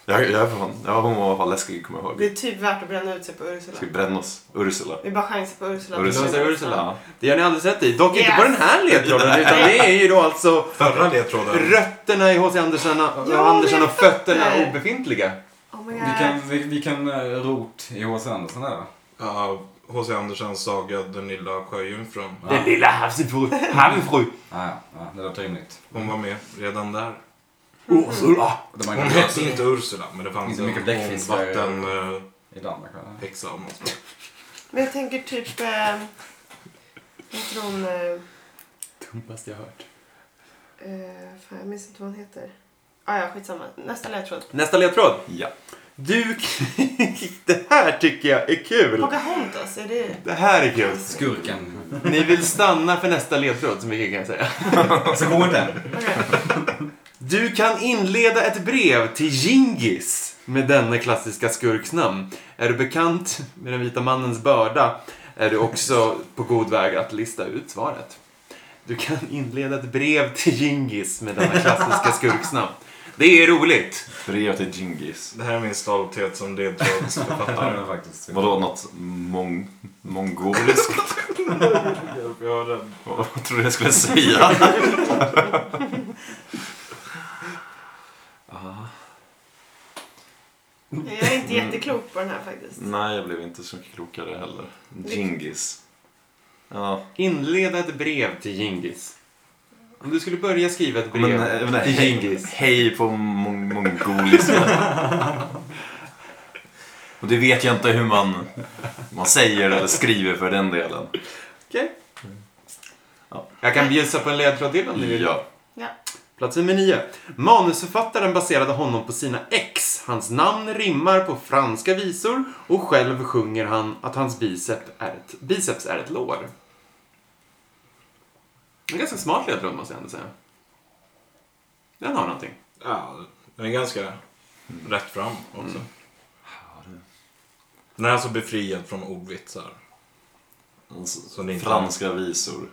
S5: Jag, jag är för fan, ja, hon var fan läskig, kommer jag
S4: Det
S5: ihåg.
S4: är typ värt att bränna ut sig på Ursula.
S5: Ska vi bränna oss? Ursula.
S4: Vi bara chansar på Ursula.
S5: Ursula.
S1: Ursula, Ursula.
S5: Ja.
S1: Det har ni alldeles rätt i. Dock inte på
S4: Yes.
S1: den här ledtråden, utan det är ju då alltså
S3: Förra ledtråden.
S1: rötterna i H.C. Andersen och,
S4: Ja,
S1: Andersen och
S4: men
S1: fötterna
S4: fötter.
S1: obefintliga.
S4: Oh my god.
S2: Vilken, vil- vilken eh, rot i H.C. Andersen är det?
S3: Ja, H.C. Andersens saga Den lilla sjöjungfrun.
S1: Den lilla havsfru, havsfru.
S2: Ah, ja, ja, det låter rimligt.
S3: Hon var med redan där.
S1: Ursula.
S2: Det var
S3: Hon hette inte Ursula, men det fanns
S2: Inte
S3: en
S2: mycket bläckfisk där.
S3: vattenhäxa
S2: I Danmark va?
S3: om man så.
S4: Men jag tänker typ... Eh, jag tror hon... Eh,
S1: Dumpaste jag hört.
S4: eh, fan, jag minns inte vad hon heter. Ah, ja, skitsamma. Nästa ledtråd.
S1: Nästa ledtråd.
S5: ja.
S1: Du, det här tycker jag är kul.
S4: Pocahontas, är det...
S1: Det här är kul.
S2: Skurken.
S1: Ni vill stanna för nästa ledtråd, så mycket kan jag säga.
S2: Så går den.
S4: Okej.
S1: Du kan inleda ett brev till Gingis med denna klassiska skurksnamn. Är du bekant med den vita mannens börda är du också på god väg att lista ut svaret. Du kan inleda ett brev till Gingis med denna klassiska skurksnamn. Det är roligt.
S5: Brev till Djingis.
S3: Det här är min stolthet som
S2: Ja, det
S3: ledtrådsförfattare.
S2: var faktiskt.
S5: Vadå, något mong, mongoliskt?
S3: Jag är rädd.
S5: Vad trodde jag skulle säga?
S4: Jag är inte jätteklok på den här faktiskt.
S5: Nej, jag blev inte så mycket klokare heller. Djingis. Ja,
S1: Inleda ett brev till Gingis. Om du skulle börja skriva ett brev
S5: men, eh, men,
S1: till
S5: hej,
S1: Gingis.
S5: hej på mong, mongoliska. Och det vet jag inte hur man, man säger eller skriver för den delen.
S1: Okej?
S5: Mm. Ja.
S1: Jag kan bjussa på en ledtråd till om ni vill.
S5: Ja.
S4: Ja.
S1: Plats nummer 9. Manusförfattaren baserade honom på sina ex. Hans namn rimmar på franska visor och själv sjunger han att hans bicep är ett, biceps är ett lår. En ganska smart ledtråd måste jag ändå säga. Den har någonting.
S3: Ja, den är ganska
S2: Mm.
S3: rätt fram också. Den är alltså befriad från ordvitsar.
S2: Mm,
S5: Alltså,
S3: Så det är inte-
S5: franska visor.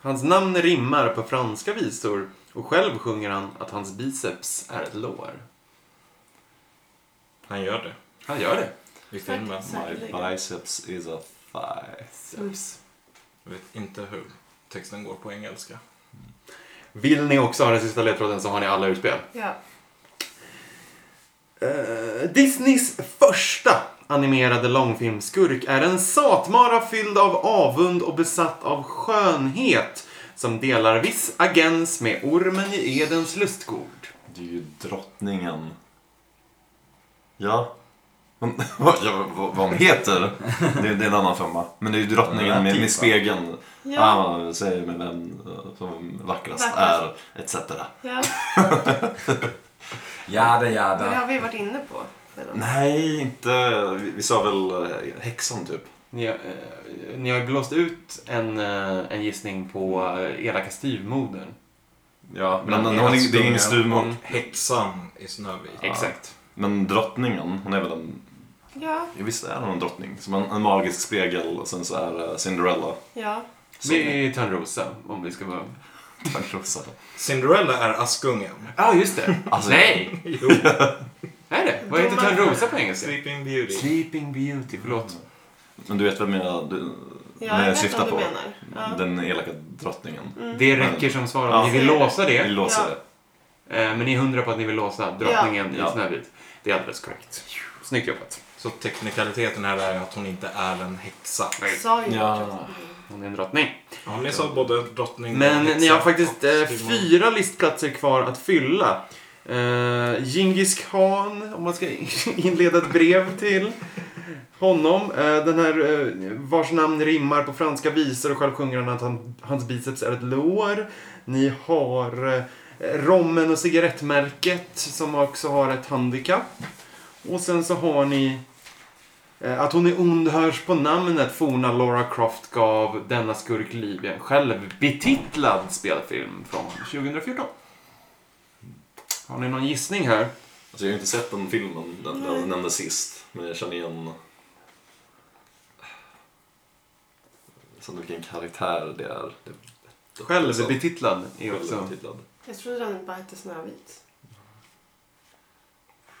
S1: Hans namn rimmar på franska visor och själv sjunger han att hans biceps är ett lår.
S3: Han gör det
S1: Han gör det.
S3: i filmen.
S5: My
S4: Säkerligen.
S5: biceps is a thigh.
S3: Jag vet inte hur texten går på engelska.
S1: Vill ni också ha den sista ledtråden så har ni alla utspel.
S4: Ja.
S1: Eh, Disneys första animerade långfilmskurk är en satmara fylld av avund och besatt av skönhet som delar viss agens med ormen i Edens lustgård.
S5: Det är ju drottningen. Ja. Hon, vad, ja, vad vad hon heter, det, det är en annan femma. Men det är ju
S2: Ja,
S5: drottningen med, med
S2: typ, va?
S5: spegeln.
S4: Ja.
S5: Ah, säger med vem eh, som vackrast
S4: Vackrast.
S5: är, etc.
S4: ja.
S2: Jada
S4: Det
S2: jada.
S4: har vi varit inne på. redan.
S5: Nej, inte... Vi, vi sa väl eh, häxan, typ.
S1: Ni, har, eh, ni har ju blåst ut en, eh, en gissning på eh, elaka styvmodern.
S5: Ja,
S1: men
S5: men, men,
S1: det är
S5: hon, det är
S3: Spungen
S5: ingen
S3: och
S5: stuvmål.
S3: Häxan i Snövit.
S1: Exakt.
S5: Men drottningen, hon är väl en...
S4: Ja.
S5: ja, Visst är hon en drottning? Som en, en magisk spegel och sen så är det Cinderella.
S4: Ja.
S5: Som
S1: Det är Törnrosa, om vi ska vara...
S5: Törnrosa.
S3: Cinderella är Askungen.
S1: Ja, ah, just det.
S5: Alltså-
S1: Nej!
S3: Jo,
S1: Är det? Vad heter Törnrosa på engelska?
S3: Sleeping Beauty.
S1: Sleeping Beauty, förlåt.
S5: Men du vet vem jag... Du,
S4: Ja,
S5: Nej,
S4: jag
S5: jag
S4: vet
S5: syftar
S4: vad du
S5: på-
S4: menar. Ja.
S5: Den elaka drottningen.
S4: Mm.
S1: Det räcker som svar om
S5: Ja.
S1: ni vill låsa
S5: Vi
S1: det.
S5: låser
S4: Ja.
S5: det.
S1: Eh, Men ni är hundra på att ni vill låsa drottningen
S5: Ja.
S1: i Snövit. Det är alldeles korrekt. Snyggt jobbat.
S3: Så teknikaliteten här är att hon inte är en häxa.
S1: Nej.
S4: Sa ju
S5: Ja.
S4: att jag skulle-
S1: Hon är en
S5: Mm.
S1: drottning.
S3: Ja, ni sa både en drottning
S1: Men
S3: en häxa
S1: ni har faktiskt
S3: och
S1: eh,
S3: Simon.
S1: fyra listplatser kvar att fylla. Eh, Genghis khan, om man ska inleda ett brev till honom. Eh, den här eh, vars namn rimmar på franska visor och själv sjunger han att han, hans biceps är ett lår. Ni har eh, rommen och cigarettmärket som också har ett handikapp. Och sen så har ni eh, att hon är ond hörs på namnet forna Laura Croft gav denna skurk liv i en självbetitlad spelfilm från 2014. Har ni någon gissning här?
S5: Alltså, jag har ju inte sett den filmen, den,
S4: Nej.
S5: den nämnde sist. Men jag känner igen... Sen vilken karaktär det är. Det är
S1: Självbetitlad är också...
S5: Självbetitlad.
S4: Jag trodde den bara hette Snövit.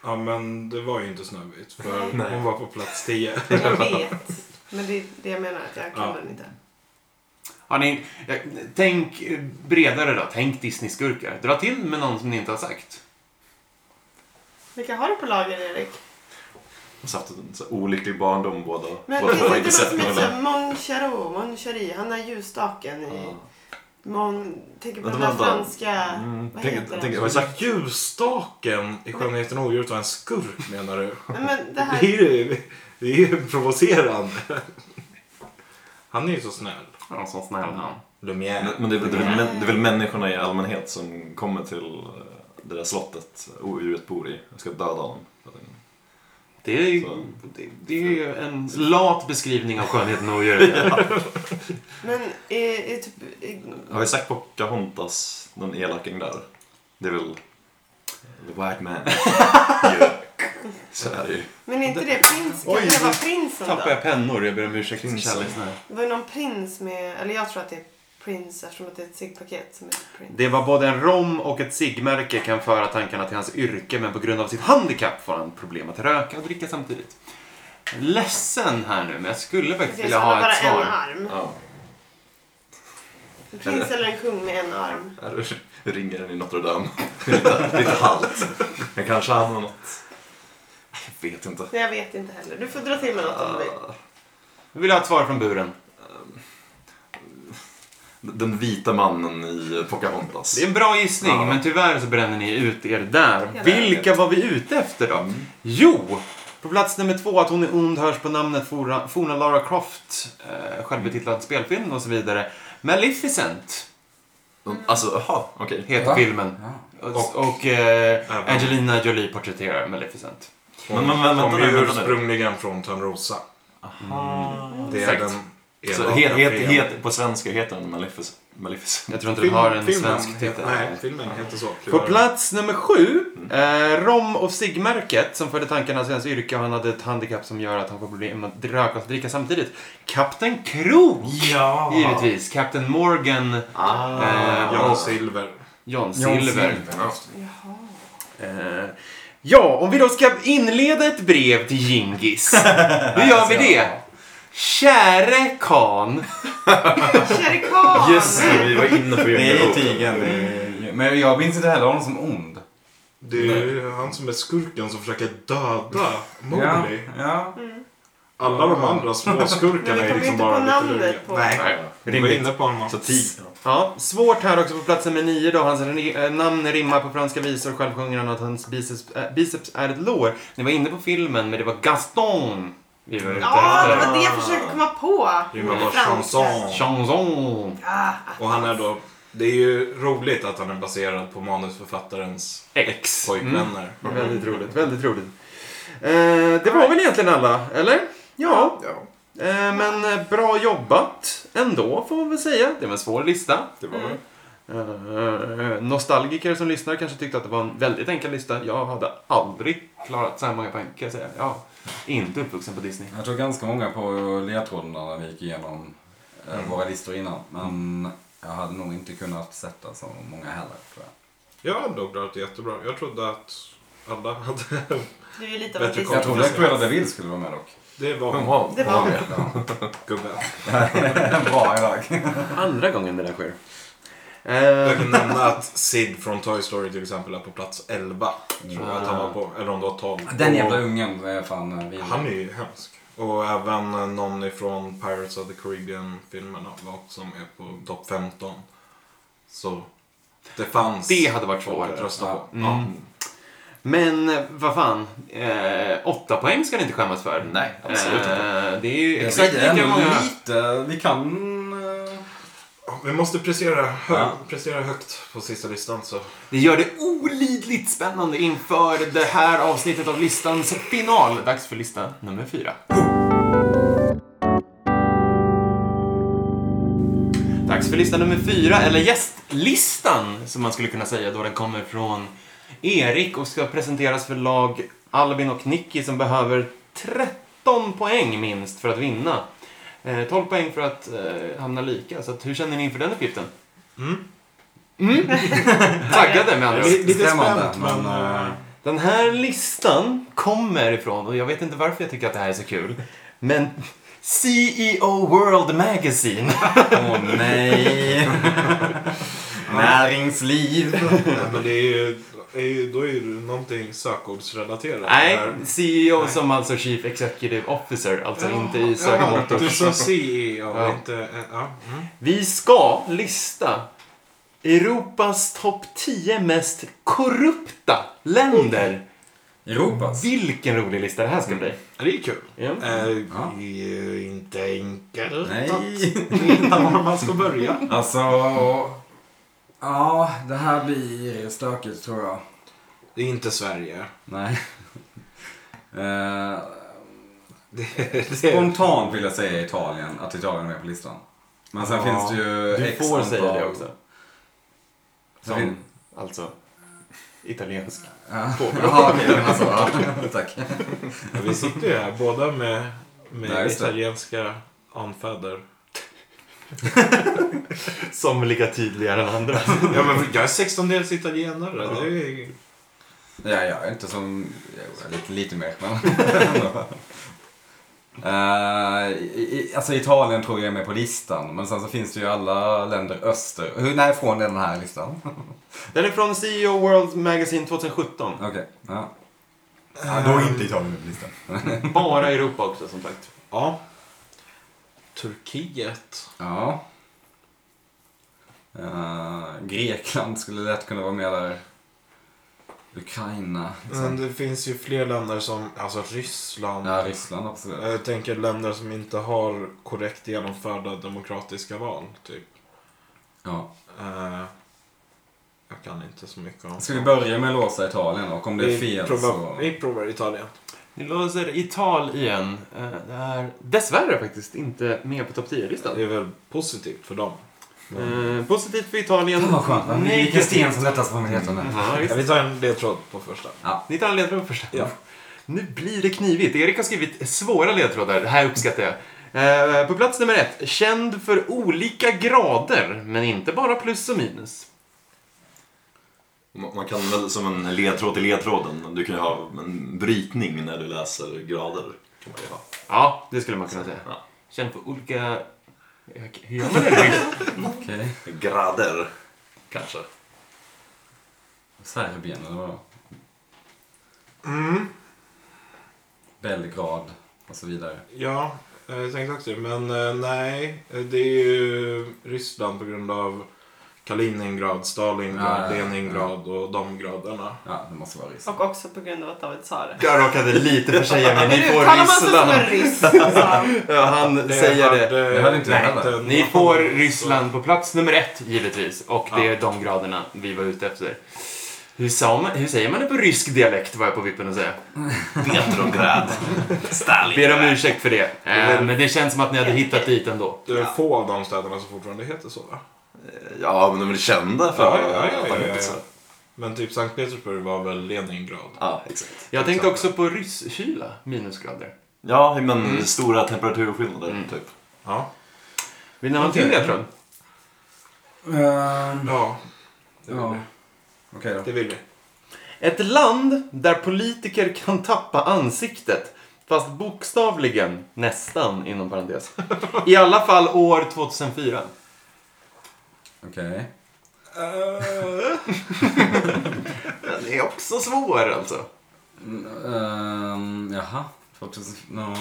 S3: Ja, men det var ju inte Snövit. För
S5: Nej.
S3: hon var på plats 10.
S4: Jag vet. Men det är det jag menar, att jag kan
S3: Ja.
S4: den inte.
S1: Har ni, eh, tänk eh, bredare då. Tänk Disney-skurkar. Dra till med någon som ni inte har sagt.
S4: Vilka har du på lager, Erik?
S5: De har haft en så här olycklig barndom båda.
S4: Men
S5: båda
S4: finns
S5: har
S4: det inte något som heter
S5: någon.
S4: så- Mon Charo, Mon Chari? Han har ljusstaken i...
S5: Ja.
S4: Mon... Tänker på den
S5: Men de
S4: där
S5: andra-
S4: franska...
S5: Mm,
S4: Vad
S5: tänk-
S4: heter
S5: tänk-
S4: den?
S5: Vad sa-
S3: Ljusstaken i Skönheten och odjuret var en skurk menar du?
S4: Nej, men det
S3: Det
S4: här...
S3: är ju, det är ju provocerande. Han är ju så snäll.
S1: Någon sån snäll namn.
S3: Lumière.
S5: Men- Men det är, väl- det, är väl,
S4: Mm.
S5: män- det är väl människorna i allmänhet som kommer till eh, det där slottet odjuret bor i och ska döda honom.
S1: Det är, ju-
S5: Så.
S1: det, det är ju en lat beskrivning av skönheten och odjuret.
S4: Men är, är typ... Är,
S5: Har vi sagt Pocahontas, den elaking där? Det är väl the white man. Ju. Så är det ju.
S4: men är inte det prins?
S1: Oj,
S4: Kan det vara
S1: nu
S4: prinsen
S1: Tappar
S4: då?
S1: jag pennor? Jag ber om ursäkt.
S5: Prinsar.
S1: källorna.
S4: Det var ju någon prins med... Eller jag tror att det är prins eftersom att det är ett ciggpaket som heter prins.
S1: Det var både en rom och ett ciggmärke kan föra tankarna till hans yrke men på grund av sitt handikapp får han problem att röka och dricka samtidigt. Ledsen här nu men jag skulle faktiskt
S4: Precis,
S1: vilja
S4: han har
S1: ha
S4: bara
S1: ett
S4: en
S1: svar.
S4: arm.
S5: Ja.
S4: En prins eller en kung med en arm.
S5: Här ringer den i Notre Dame. Lite, lite halt. Men kanske han har något... Jag vet inte.
S4: Nej, jag vet inte heller. Du får dra till med något om du vill.
S5: Ah,
S1: Jag vill ha ett svar från buren.
S5: Den vita mannen i Pocahontas.
S1: Det är en bra gissning
S5: Ja.
S1: men tyvärr så bränner ni ut er där.
S4: Ja, det är
S1: Vilka var vi ute efter då?
S5: Mm.
S1: Jo! På plats nummer två, att hon är ond hörs på namnet forna, forna Lara Croft. Eh, självbetitlad spelfilm och så vidare. Maleficent
S5: De- Alltså, jaha, okej.
S1: heter
S2: Va?
S1: filmen. Och, och eh, Angelina Jolie porträtterar Maleficent.
S5: Men- men- men-
S3: Hon
S5: vänta nu,
S3: är ju
S5: vänta nu.
S3: ursprungligen från Törnrosa. Det är
S1: Exakt.
S3: den
S5: Så
S3: elaka
S5: het, het,
S3: fel-
S5: het, på svenska heter den Malefic- Maleficent.
S1: Jag tror inte
S3: Film-
S1: den har en
S3: filmen
S1: svensk
S3: heter-
S1: titel.
S3: Nej, filmen heter så.
S1: På plats nummer sju, eh, Rom och ciggmärket som förde tankarna till hans yrke och han hade ett handikapp som gör att han får problem att röka och dricka samtidigt. Kapten Krok!
S2: Ja!
S1: Givetvis. Kapten Morgan, eh,
S3: Jan
S1: och
S3: Silver.
S1: John
S2: John
S1: Silver.
S4: Jaha.
S1: Eh, ja, om vi då ska inleda ett brev till Gingis. Hur gör vi det? Käre kan.
S4: Shere Khan!
S5: Just det, vi var inne på
S2: Det är
S5: Jönköping.
S2: tigern. det är- Men jag minns inte heller honom som ond.
S3: Det är ju han som är skurken som försöker döda
S2: Ja,
S3: Mowgli.
S2: ja.
S3: Alla de andra
S4: Men
S3: småskurkarna
S4: vi
S3: är
S4: kommer
S3: liksom
S4: inte på
S3: bara lite löjliga.
S4: namnet på...
S2: Nej.
S3: Vi var inne på honom.
S5: Så tig.
S1: Ja, svårt här också på platsen med nio då. Hans ri- eh, namn rimmar på franska visor och själv sjunger han att hans biceps, eh, biceps är ett lår. Ni var inne på filmen, men det var Gaston vi var ute
S4: Ja, det
S1: efter.
S4: var det jag försökte komma på.
S3: Det var bara
S4: Franska.
S3: chanson.
S1: Chanson.
S4: Ah,
S3: Och han är då... Det är ju roligt att han är baserad på manusförfattarens
S1: X. Mm.
S3: pojkvänner.
S1: Väldigt roligt, väldigt roligt. Eh, det var väl egentligen alla, eller? Ja. Eh, men eh, bra jobbat ändå, får man väl säga. Det var en svår lista.
S3: Det var
S4: Mm.
S1: Eh, nostalgiker som lyssnar kanske tyckte att det var en väldigt enkel lista. Jag hade aldrig klarat så här många poäng kan jag säga. Jag är inte uppvuxen på Disney.
S2: Jag tror ganska många på ledtrådarna när vi gick igenom eh, våra listor innan. Men jag hade nog inte kunnat sätta så många heller tror jag.
S3: Jag har ändå klarat det jättebra. Jag trodde att alla hade
S4: Du är lite av ett
S3: Bättre
S2: Jag
S4: distrikt.
S2: trodde att Cruella de Vil skulle vara med dock.
S3: Det var
S6: Hon
S3: hon,
S6: var
S4: Det var
S2: Ja.
S3: gubben.
S2: Bra idag.
S1: Andra gången det där sker.
S3: Jag
S1: Eh,
S3: kan nämna att Sid från Toy Story till exempel är på plats 11. Tror jag att han var på, eller om det var 12.
S2: Den jävla
S3: Och
S2: ungen är fan eh, vidrig.
S3: Han är ju hemsk. Och även eh, någon ifrån Pirates of the Caribbean-filmerna var som är på topp 15. Så det fanns
S1: det hade varit
S3: folk att
S1: svårare.
S3: rösta på.
S1: Mm. Men eh, vad fan. Eh, åtta poäng ska ni inte skämmas för.
S5: Nej, absolut inte.
S1: Eh, det är ju
S2: Jag
S1: exakt
S2: säger
S1: lika
S2: ändå
S1: många.
S2: lite. Vi kan... eh,
S3: Ja, Vi måste prestera, hö-
S2: Ja.
S3: prestera högt på sista listan så.
S1: Det gör det olidligt spännande inför det här avsnittet av listans final. Dags för lista nummer fyra. Dags för lista nummer fyra, eller gästlistan som man skulle kunna säga då den kommer från Erik och ska presenteras för lag Albin och Nicky som behöver 13 poäng minst för att vinna. Eh, 12 poäng för att eh, hamna lika, så att, hur känner ni inför den uppgiften?
S3: Mm.
S1: Mm. Taggade med andra ord.
S3: Lite
S2: Skrämmande,
S3: spänt, men,
S2: men, eh,
S1: Den här listan kommer ifrån, och jag vet inte varför jag tycker att det här är så kul, men CEO World Magazine.
S2: Åh nej. Näringsliv.
S3: Nej, men det är ju, är ju, då är ju någonting sökordsrelaterat.
S1: Nej,
S3: Det här-
S1: CEO som alltså Chief Executive Officer, alltså inte i
S3: Ja,
S1: sökmotor.
S3: du sa CEO,
S1: Ja.
S3: inte... eh, Ja. Mm.
S1: Vi ska lista Europas topp 10 mest korrupta länder.
S2: Europas.
S1: Vilken rolig lista det här ska bli.
S3: Ja, Det är kul.
S1: Ja.
S3: Eh,
S2: Ja.
S3: Det är ju inte enkelt.
S2: Nej.
S3: Var man ska börja.
S2: Alltså... Ja, det här blir stökigt tror jag.
S3: Det är inte Sverige.
S2: Nej. Eh,
S3: Det, det,
S2: spontant vill jag säga Italien, att Italien är med på listan. Men sen
S1: Ja,
S2: finns det ju
S1: Du
S2: X
S1: får
S2: antal-
S1: säga det också.
S2: Sen fin-
S1: Som, alltså, italiensk.
S2: Ja. Jaha, okej, men alltså, ja. Tack.
S3: Ja, vi sitter ju här båda med, med
S2: Ja, just det.
S3: italienska anfäder.
S1: Somliga tydligare än andra.
S3: Ja, men jag är sextondels italienare. Det är ju...
S2: Ja, jag är inte som... Jag är lite, lite mer, men... Eh, i, i- alltså Italien tror jag är med på listan, men sen så finns det ju alla länder öster. Hur, nej, från den här listan?
S1: Den är från CEO World Magazine 2017.
S2: Okej. Ja. då är inte Italien med på listan.
S1: Bara Europa också som sagt.
S3: Ja. Turkiet.
S2: Ja. Eh, Grekland skulle lätt kunna vara med där. Ukraina. Liksom.
S3: Men det finns ju fler länder som, alltså Ryssland.
S2: Ja, Ryssland absolut.
S3: Jag tänker länder som inte har korrekt genomförda demokratiska val, typ.
S2: Ja.
S3: Eh, jag kan inte så mycket om...
S2: Ska vi börja med att låsa Italien och om det är fel
S3: provar,
S2: så...
S3: Vi provar Italien.
S1: Ni låser Italien. Eh, Det är dessvärre faktiskt inte med på topp 10-listan.
S3: Det är väl positivt för dem.
S1: Eh, Positivt för Italien.
S2: Fan Ah, vad skönt. va? Vilken
S1: Negativt.
S2: sten som lättas på myndigheterna.
S1: Ja,
S3: Ja,
S1: visst.
S3: vi tar en ledtråd på första.
S1: Ni tar en ledtråd först.
S3: Ja.
S1: Nu blir det knivigt. Erik har skrivit svåra ledtrådar. Det här uppskattar jag. Eh, På plats nummer ett. Känd för olika grader, men inte bara plus och minus.
S5: Man man kan väl som en ledtråd till ledtråden, du kan ju ha en brytning när du läser grader. Kan man ju ha.
S1: Ja, det skulle man kunna säga.
S5: Ja.
S1: Känd för olika... Hur gör man det?
S2: Okej.
S5: Grader, kanske.
S2: Serbien eller vadå?
S3: Mm,
S2: Belgrad och så vidare.
S3: ja, eh, jag tänkte också det, Men eh, nej, eh, det är ju Ryssland på grund av Kaliningrad, Stalingrad,
S2: Ja, ja, ja.
S3: Leningrad och de graderna.
S2: Ja, det måste vara Ryssland.
S4: Och också på grund av att David sa det.
S1: Jag råkade lite försäga mig. Ni
S4: Nu
S1: får
S4: talar man sig som en
S1: Ryssland.
S4: ryss. sa
S1: Ja, han säger det. eh,
S3: hade-
S2: Det hade inte jag
S3: nej,
S2: heller.
S1: Ni får Ryssland på plats nummer ett, givetvis. Och det är de graderna vi var ute efter. Hur, sa man, hur säger man det på rysk dialekt, var jag på vippen att säga.
S5: Petrograd.
S1: Ber om ursäkt för det. Eh,
S3: Mm.
S1: men det känns som att ni hade hittat dit ändå.
S3: Det är eh, få av de städerna som fortfarande heter så va?
S5: Ja, men de är väl kända för
S3: Ja, ja, ja,
S5: att ha
S3: ja,
S5: gjort så.
S3: ja. Men typ Sankt Petersburg var väl Leningrad?
S5: Ja, exakt.
S1: Jag tänkte också på rysskyla, minusgrader.
S5: Ja, men
S3: Mm.
S5: stora temperaturskillnader, typ.
S3: Ja.
S1: Vill ni ha en till ledtråd?
S2: Ehm,
S3: Ja, det vill,
S2: ja.
S3: Vi.
S2: Okej då.
S3: Det vill vi.
S1: Ett land där politiker kan tappa ansiktet. Fast bokstavligen nästan inom parentes. I alla fall år 2004.
S2: Okej.
S1: Den är också svår alltså.
S2: Mm, ehm, jaha. 2000... No,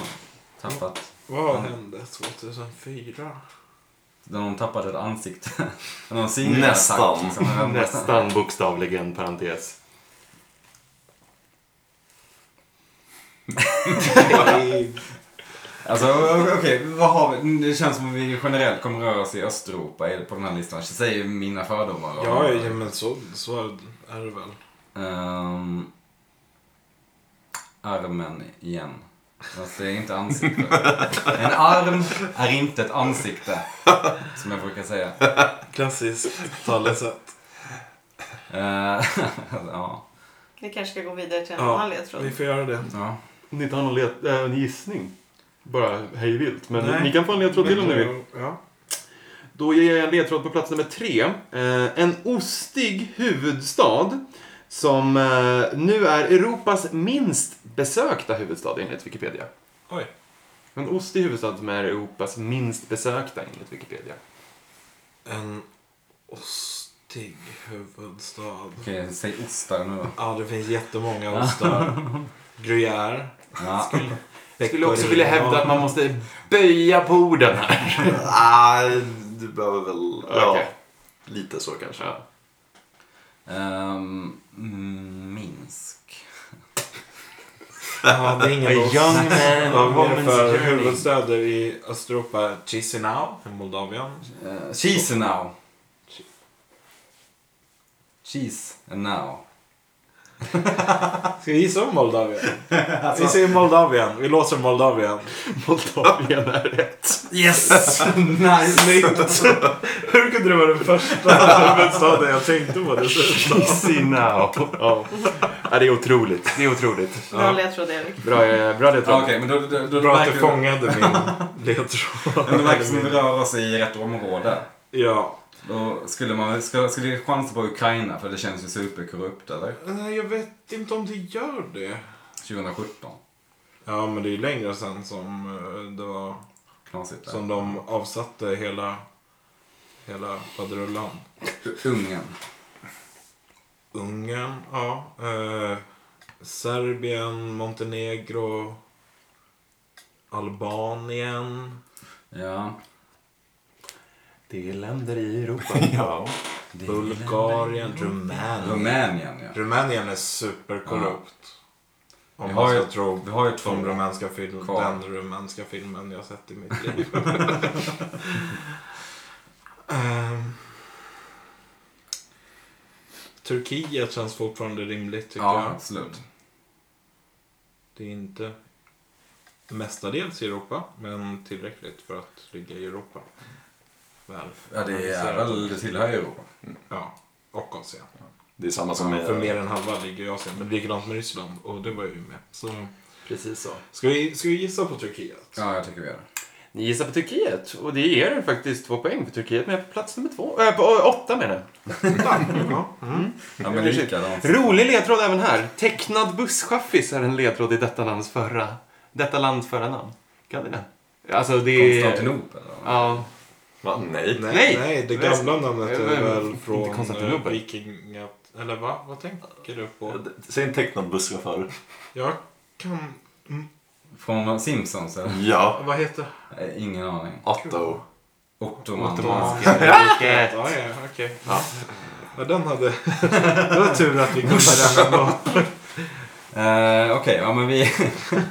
S2: tappat.
S3: Vad hände 2004?
S2: När någon tappade ett ansikte. När någon singlade
S5: Nästan.
S2: sagt, liksom. När någon-
S1: Nästan bokstavligen parentes.
S2: Alltså okej, vad har vi? Mm, Det känns som att vi generellt kommer röra oss i Östeuropa är det på den här listan. Jag säger mina fördomar.
S3: Ja, ja, men så, så är det väl.
S2: Ehm, armen igen. Fast det är inte ansikte. En arm är inte ett ansikte. Som jag brukar säga.
S3: Klassiskt talesätt.
S2: Eh, ja.
S4: Vi kanske ska gå vidare till en
S3: Ja,
S4: annan ledtråd.
S3: Ni får göra det.
S2: ja.
S1: Ni inte har någon let, äh, en gissning? Bara hejvilt. Men
S3: Nej.
S1: ni kan få en ledtråd till om ni vill.
S3: Ja.
S1: Då ger jag en ledtråd på plats nummer tre. Eh, en ostig huvudstad som eh, nu är Europas minst besökta huvudstad enligt Wikipedia.
S3: Oj.
S1: En ostig huvudstad som är Europas minst besökta enligt Wikipedia.
S3: En ostig huvudstad.
S2: Okej, säg ostar nu då.
S3: Ja, det finns jättemånga ostar. Gruyère.
S2: Ja.
S1: Jag skulle också vilja hävda att man måste böja på orden här.
S5: Nej, Ah, du behöver väl... Ja,
S1: Okej.
S5: lite så kanske.
S1: Ja.
S2: Ehm, mm, Minsk.
S3: Ja, det är
S1: A
S3: ingen ost.
S1: young man
S3: Vad var det
S1: woman's
S3: för
S1: journey.
S3: huvudstäder i Östeuropa? Chisinau i Moldavien.
S2: Uh, cheese now. Cheese and now.
S3: Ska vi gissa på Moldavien?
S1: Alltså-
S3: Vi säger Moldavien. Vi låser Moldavien.
S1: Moldavien är rätt.
S2: Yes! nice!
S3: Hur kunde det vara den första huvudstaden jag tänkte på?
S1: Easy now. Ja. Ja, det är otroligt. Det är otroligt.
S4: Bra ledtråd, Erik.
S1: Bra, eh, bra ledtråd.
S2: Okej, men då, då, då,
S3: Bra att du
S2: verkar-
S3: fångade min ledtråd.
S2: Men det verkar som att vi rör oss i rätt område.
S3: Ja.
S2: Då skulle man ska, skulle vi chansa på Ukraina för det känns ju superkorrupt eller?
S3: Nej, jag vet inte om det gör det.
S2: 2017.
S3: Ja, men det är ju längre sen som eh, det var...
S2: Knasigt där.
S3: Som de avsatte hela... Hela faderullan.
S2: Ungern.
S3: Ungern, ja. Eh, Serbien, Montenegro. Albanien.
S2: Ja.
S1: Det är länder i Europa.
S5: Ja.
S2: Det är
S3: Bulgarien, Rumänien.
S2: Rumänien ja.
S3: Rumänien är superkorrupt.
S2: Vi
S3: Om
S2: har
S3: man
S2: ju-
S3: ska tro
S2: Vi har ju två
S3: de rumänska film,
S2: kvar.
S3: den rumänska filmen jag sett i mitt liv. Ehm. Turkiet känns fortfarande rimligt tycker
S2: Ja,
S3: jag.
S2: absolut.
S3: Det är inte mestadels i Europa, men tillräckligt för att ligga i Europa. Väl.
S2: Ja det är väl, det tillhör ju Europa.
S3: Ja, och Asien.
S5: Det är samma som
S3: För
S5: med...
S3: mer än halva ligger i Asien, men likadant med Ryssland och det var jag ju med. Så,
S1: Precis så.
S3: ska, vi, ska vi gissa på Turkiet?
S2: Ja jag tycker vi gör det.
S1: Ni gissar på Turkiet och det ger er faktiskt två poäng för Turkiet men jag är på plats nummer två. Äh, på ö, åtta menar jag.
S3: Ja.
S2: Ja men
S1: Precis.
S2: likadant.
S1: Rolig ledtråd även här. Tecknad busschaffis är en ledtråd i detta lands förra, detta lands förra namn. Kan ni den? Alltså det är...
S2: Konstantinopel. eller?
S1: Ja,
S5: Va? Nej.
S3: Nej,
S1: Nej.
S3: nej, det gamla namnet är
S1: Eh,
S3: väl
S1: inte
S3: från eh,
S1: Konstantinopel.
S3: vikingat... Eller va? Vad tänker du på?
S5: Säg en tecknad busschaufför.
S3: Jag kan... Mm,
S2: Från Simpsons eller?
S5: Ja.
S3: vad heter...
S2: Eh, Ingen aning.
S5: Otto.
S2: Ottoman.
S1: ottomanska
S3: Ja,
S1: riket.
S3: ja, okej. Ja, den hade... det var tur att vi kunde den ändå.
S2: Eh, Okej, ja men vi...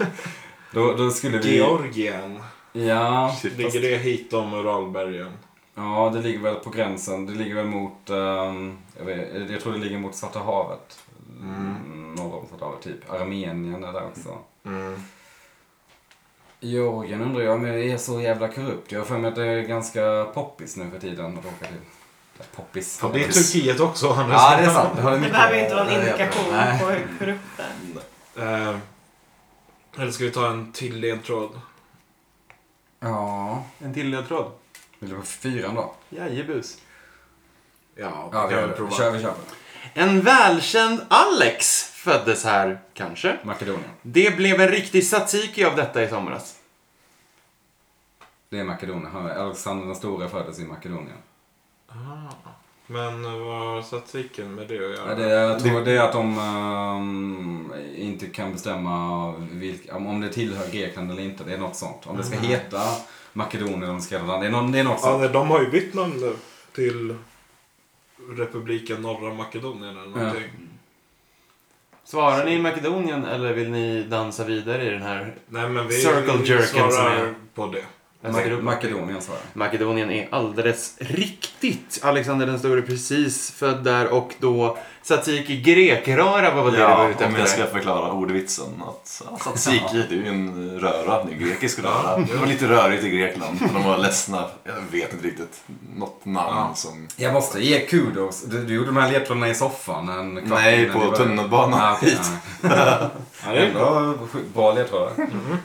S2: då, då skulle vi...
S3: Georgien.
S2: Ja,
S3: Ligger det hitom Uralbergen?
S2: ja, det ligger väl på gränsen. Det ligger väl mot... ehm, jag, vet, jag tror det ligger mot Svarta havet. Mm. Norr om Svarta havet, typ. Armenien är där också.
S3: Mm.
S2: Georgien undrar jag om jag är så jävla korrupt. Jag har för mig att det är ganska poppis nu för tiden att åka till. Ja, Poppis.
S3: Det är typ- Turkiet också, å andra
S2: Ja,
S3: sidan.
S2: det är sant. Det har
S4: Det
S2: mycket-
S4: behöver ju inte vara en
S2: Nej,
S4: indikation
S2: nej.
S4: på hur korrupt det är.
S3: Eh, eller ska vi ta en till ledtråd?
S2: Ja,
S1: En till ledtråd.
S2: vill du på fyran då?
S1: Jajebus.
S3: Ja,
S2: Ja, vi gör
S3: vi kan
S2: det.
S3: prova.
S2: Kör, vi kör på det.
S1: En välkänd Alex föddes här, kanske.
S2: Makedonien.
S1: Det blev en riktig tzatziki av detta i somras.
S2: Det är Makedonien. Han- Alexander den store föddes i Makedonien.
S3: Ah. Men vad har statistiken med det att
S2: Ja,
S3: göra?
S2: det, jag tror det är att de ehm, inte kan bestämma vilk, om, om det tillhör Grekland eller inte. Det är något sånt. Om det ska heta Makedonien eller om det ska heta land. Det är, någon, det är något
S3: Ja,
S2: sånt.
S3: nej, de har ju bytt namn nu till Republiken Norra Makedonien eller någonting.
S1: Svarar ni Makedonien eller vill ni dansa vidare i den här?
S3: Nej men vi
S1: Circle jerken
S3: svarar
S1: som är-
S3: på det.
S1: Jag sätter
S2: Ma-
S1: upp-
S2: Makedonien svarar jag.
S1: Makedonien är alldeles riktigt. Alexander den store är precis född där och då tzatziki grekröra var väl det du var
S5: Ja,
S1: ute
S5: om jag ska
S1: efter?
S5: förklara ordvitsen. Att ja, tzatziki, det är ju en röra, det är en grekisk röra. Det var lite rörigt i Grekland, för de var ledsna. Jag vet inte riktigt. Något namn som...
S2: Jag måste ge kudos. Du, du gjorde de här ledtrådarna i soffan en kvart
S5: Nej,
S2: innan
S5: på
S2: vi började.
S5: tunnelbanan
S2: Ah, okej,
S5: hit.
S2: nej.
S3: Ja, det är bra.
S2: Ändå bra ledtrådar.
S3: Mhm.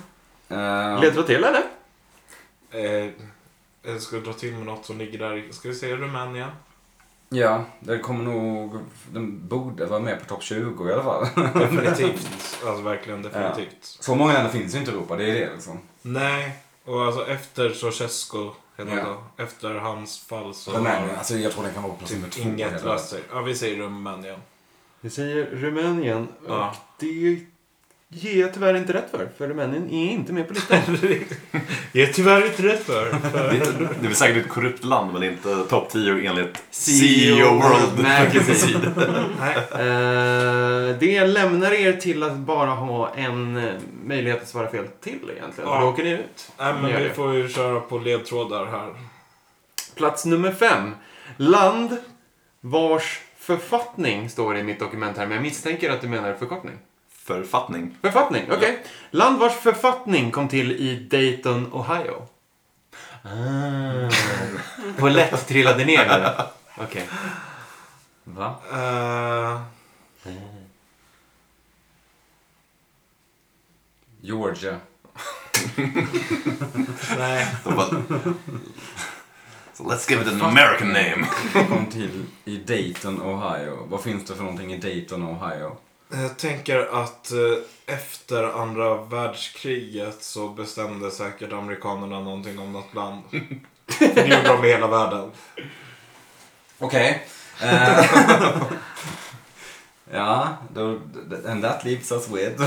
S2: Eh,
S1: Ledtråd till eller?
S3: Eh, jag ska dra till med något som ligger där. i- Ska vi se Rumänien?
S2: ja, den kommer nog... Den borde vara med på topp 20 i alla fall.
S3: Definitivt. Alltså verkligen definitivt.
S2: Så många länder finns ju inte i Europa, det är det liksom.
S3: Nej, och alltså efter Ceausescu, heter
S2: Ja.
S3: det, efter hans fall så
S2: Rumänien,
S3: har
S2: alltså jag tror den kan vara på plats nummer
S3: typ
S2: två.
S3: inget
S2: hela.
S3: löst sig. Ja, vi säger Rumänien.
S1: Vi säger Rumänien och
S3: Ja.
S1: det ger jag tyvärr inte rätt för. För Rumänien är inte med på listan.
S3: Jag är tyvärr inte rätt för.
S5: Det, det är väl säkert ett korrupt land, men inte topp 10 enligt
S3: E
S5: CEO E World.
S1: Magazine.
S3: Nej.
S1: Eh, det lämnar er till att bara ha en eh, möjlighet att svara fel till egentligen.
S3: Ja.
S1: För då åker ni ut.
S3: Nej,
S1: Ni gör
S3: men vi
S1: det.
S3: får ju köra på ledtrådar här.
S1: Plats nummer fem. Land vars författning står det i mitt dokument här, men jag misstänker att du menar förkortning.
S5: Författning.
S1: Författning, okej. Land vars författning kom till i Dayton, Ohio. Ah. På lätt trillade ner där. Okej.
S2: Va?
S3: Eh,
S2: Georgia.
S3: nej.
S5: De bara... So let's give it an American name.
S2: Kom till i Dayton, Ohio. Vad finns det för någonting i Dayton, Ohio?
S3: Eh, Jag tänker att eh, efter andra världskriget så bestämde säkert amerikanerna någonting om något land. Det gjorde de i hela världen.
S2: Okej. Eh, ja, då, and that leaves us with...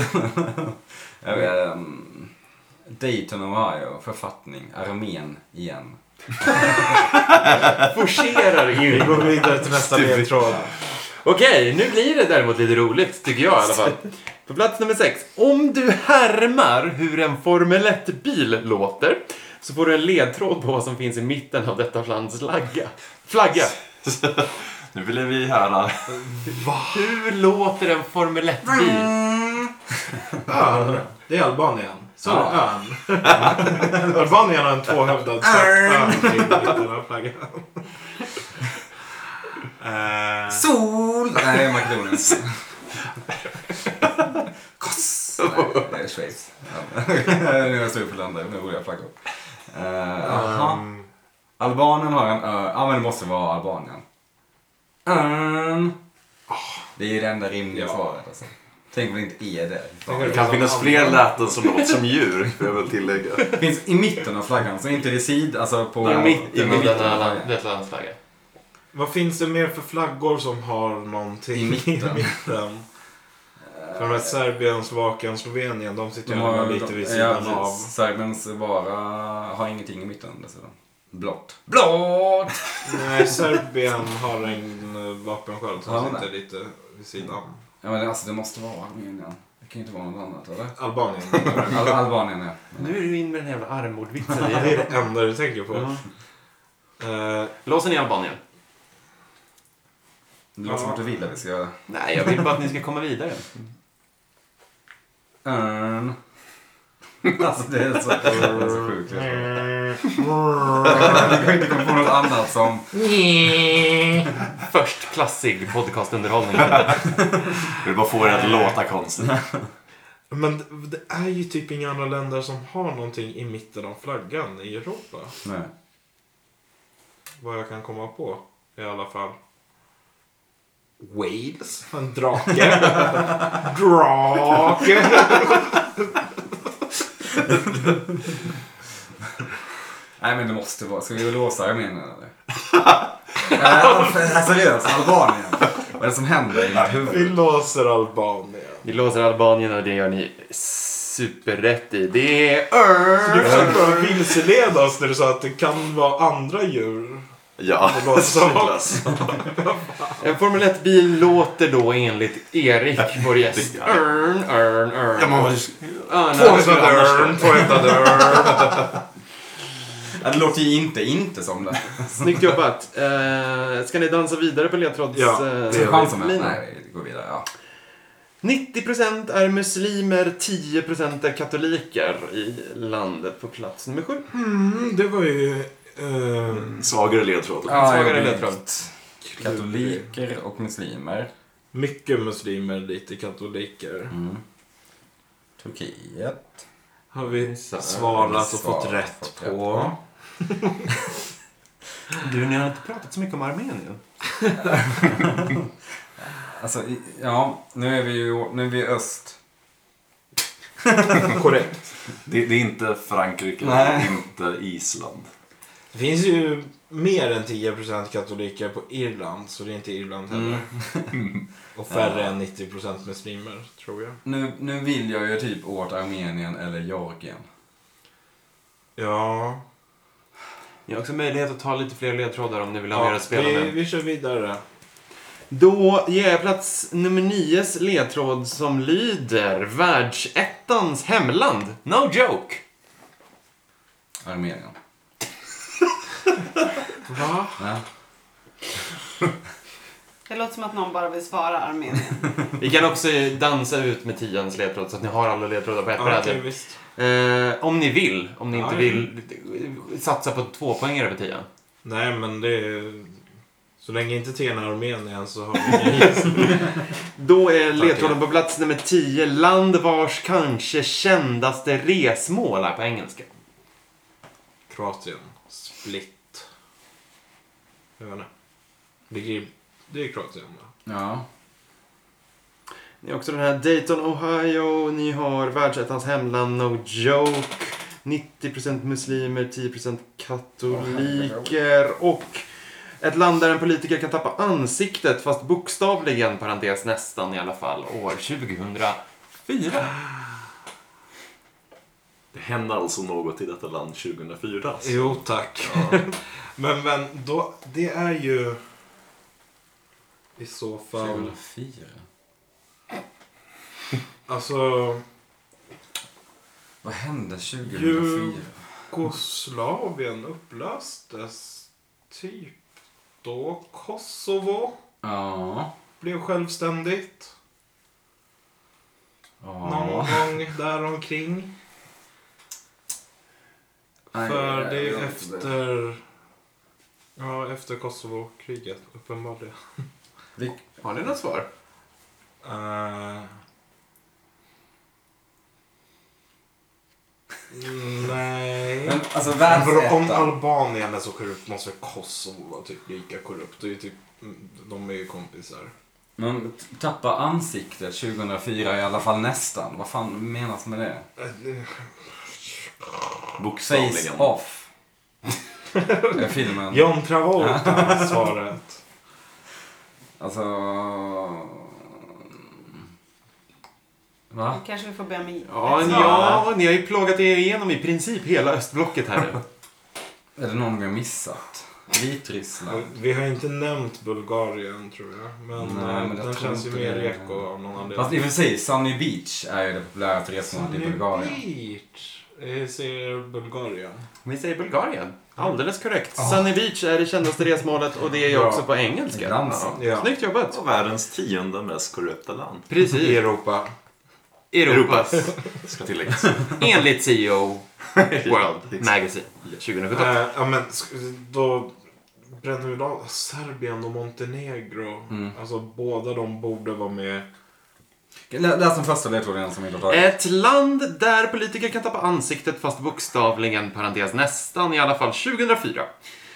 S2: Jag vet, ehm, Dayton, Ohio. Författning. Armén igen.
S1: Forcerar
S3: Vi
S1: in.
S3: går vidare till nästa ledtråd.
S1: Okej, nu blir det däremot lite roligt, tycker jag i alla fall. På plats nummer sex. Om du härmar hur en Formel 1-bil låter så får du en ledtråd på vad som finns i mitten av detta lands flagga. Flagga!
S5: Nu ville vi höra...
S1: Hur låter en Formel 1-bil?
S3: Ön. Det är Albanien. Så
S2: Ja.
S3: ja. ön. Albanien har en tvåhövdad svart ön. i den här flaggan. Eh,
S2: Sol! Nej, Makedonien. Koss! Nej, det är Schweiz. Ja. nu är jag slut på landet, nu borde jag flagga upp. Eh, Jaha.
S3: ehm,
S2: Albanien har en ö. Ja, men det måste vara Albanien. Ehm. Det är ju det enda rimliga
S3: Ja.
S2: svaret alltså. Tänk om det inte är det.
S3: Tänk om
S5: Det kan finnas fler läten som låter som djur, får jag väl tillägga.
S2: Det finns i mitten av flaggan, så inte vid sid, alltså på...
S1: Mm. I mitten av denna
S2: flaggan.
S1: land, detta lands flagga.
S3: vad finns det mer för flaggor som har någonting
S2: I mitten.
S3: mitten? För de här Serbien, Slovakien, Slovenien, de sitter
S2: De
S3: ju
S2: har
S3: ändå lite vid
S2: ja,
S3: sidan
S2: precis.
S3: av.
S2: Serbiens vara har ingenting i mitten dessutom. Blått. Blått!
S3: Nej, Serbien har en eh, vapensköld som
S2: Har de
S3: sitter
S2: det?
S3: lite vid sidan.
S2: Ja men alltså det måste vara Armenien. Det kan ju inte vara något annat eller?
S3: Albanien.
S2: Al Albanien ja.
S1: Nu är du in med den här jävla armbordvitsen
S3: Det är
S1: igen.
S3: det enda du tänker på.
S1: Ja.
S3: Eh,
S1: Låsen i Albanien.
S2: Det låter som att du vill att vi ska...
S1: Nej, jag vill bara att ni ska komma vidare.
S2: Örn. Alltså det är så, det är så sjukt. liksom. Jag kan inte komma på något annat som...
S1: Först klassig podcastunderhållning.
S5: Vill bara få det att låta konstigt.
S3: Men d- det är ju typ inga andra länder som har någonting i mitten av flaggan i Europa.
S2: Nej.
S3: Vad jag kan komma på i alla fall. Wales. En drake. drake.
S2: Nej men det måste vara. Ska vi låsa Armenien eller? äh, seriöst, Albanien. Vad är det som händer i ditt
S3: Vi
S2: huvud?
S3: låser Albanien.
S1: Vi låser Albanien och det gör ni superrätt i. Det är
S3: Du
S1: Örn!
S3: försökte bara vilseleda oss när du sa att det kan vara andra djur.
S5: Ja,
S3: Det låter som-
S5: Niklas.
S1: En Formel 1-bil låter då enligt Erik, vår gäst. Örn, örn, örn.
S5: Ja, men vad-
S1: Örnar.
S5: skulle annars
S3: Poetadörn, poetadörn.
S2: Ja, det låter ju inte inte som det.
S1: Snyggt jobbat. Eh, ska ni dansa vidare på ledtråds...
S3: Ja,
S1: eh,
S3: det gör vi.
S2: Chansen med.
S1: linan?
S2: Nej, vi går vidare. Ja.
S1: 90% är muslimer, 10% är katoliker i landet på plats nummer sju.
S3: Mm, det var ju... ehm,
S5: Svagare ledtråd.
S2: Ja,
S1: Svagare
S2: jag blir
S1: ledtråd.
S2: lite Katoliker och muslimer.
S3: mycket muslimer, lite katoliker.
S2: Mm. Turkiet.
S3: Har vi
S1: Så.
S3: svarat och
S2: Svar,
S3: fått rätt
S2: fått rätt
S3: på.
S1: Du, ni har inte pratat så mycket om Armenien.
S2: Alltså, i- ja, nu är vi ju nu är vi i öst.
S3: Korrekt.
S5: Det, det är inte Frankrike,
S2: Nej.
S5: inte Island.
S3: Det finns ju mer än 10% katoliker på Irland, så det är inte Irland heller. Och färre än 90% muslimer, tror jag.
S2: Nu, nu vill jag ju typ åt Armenien eller Georgien.
S3: Ja,
S1: Ni har också möjlighet att ta lite fler ledtrådar om ni vill ha mer
S3: ja
S1: att spela
S3: vi,
S1: med.
S3: vi kör vidare.
S1: Då ger jag plats nummer 9s ledtråd som lyder Världsettans hemland. No joke!
S2: Armenien.
S3: Va?
S2: Ja.
S4: Det låter som att någon bara vill svara Armenien.
S1: Vi kan också dansa ut med tians ledtråd så att ni har alla ledtrådar på ett
S3: Ja,
S1: bräde.
S3: Okej, visst.
S1: Eh, om ni vill. Om ni inte
S3: Ja,
S1: vill eh, satsa på tvåpoängare på tian.
S3: Nej, men det är... Så länge inte Tena är Armenien så har vi ingen gissning.
S1: Då är ledtråden på plats nummer 10. Land vars kanske kändaste resmål är på engelska.
S3: Kroatien. Split. Jag vet inte. Ligger i- Det är Kroatien va?
S2: Ja.
S1: Ni har också den här Dayton, Ohio. Ni har världsettans hemland No Joke. 90% muslimer, 10% katoliker och ett land där en politiker kan tappa ansiktet fast bokstavligen, parentes nästan i alla fall, år 2004.
S5: Det hände alltså något i detta land 2004. alltså.
S3: Jo tack. men men då, det är ju i så fall,
S2: 2004.
S3: alltså
S2: Vad hände 2004?
S3: Ju- Jugoslavien upplöstes typ då. Kosovo
S2: Ja.
S3: blev självständigt någon
S2: Ja.
S3: gång däromkring.
S2: Nej,
S3: För
S2: jag
S3: det är ju
S2: vet inte.
S3: efter, ja efter Kosovo-kriget uppenbarligen.
S2: Vil-
S1: Har ni något svar?
S3: Eh. Nej.
S2: Men, alltså
S3: För om
S2: världsettan.
S3: Albanien är så korrupt måste väl Kosovo vara typ lika korrupt. Det är ju typ, mm, de är ju kompisar.
S2: Men tappa ansiktet 2004 i alla fall nästan. Vad fan menas med det? Face
S5: Bokstavligen.
S2: off. Det är filmen.
S3: John Travolta svaret.
S2: Alltså... Va?
S4: Kanske vi får be om hjälp.
S1: Ja, ni, ja, ni har ju plågat er igenom i princip hela östblocket här nu.
S2: Är det någon vi har missat? Vitryssland.
S3: Vi har inte nämnt Bulgarien tror jag. Men,
S2: Nej,
S3: eh,
S2: men jag
S3: den
S2: tror
S3: känns ju
S2: inte
S3: mer
S2: det.
S3: reko av någon anledning.
S2: Fast i och för sig, Sunny Beach är ju det populära turistmålet i
S3: Sunny
S2: Bulgarien.
S3: Beach. Jag ser Bulgarien.
S1: Vi säger Bulgarien. Alldeles korrekt. Sunny Beach är det kändaste resmålet och det är ju
S3: Ja.
S1: också på engelska.
S2: Dansen.
S3: Ja.
S1: Snyggt jobbat.
S5: Och världens tionde mest korrupta land.
S1: Precis.
S3: Europa.
S1: Europas.
S5: Ska tilläggas.
S1: Enligt CEO World Magazine 2017.
S3: Eh, ja, men sk- då bränner vi av Serbien och Montenegro.
S2: Mm.
S3: Alltså båda de borde vara med.
S2: Lä- Läs den första ledtråden igen som vi inte har tagit.
S1: Ett land där politiker kan tappa ansiktet fast bokstavligen, parentes nästan i alla fall, 2004.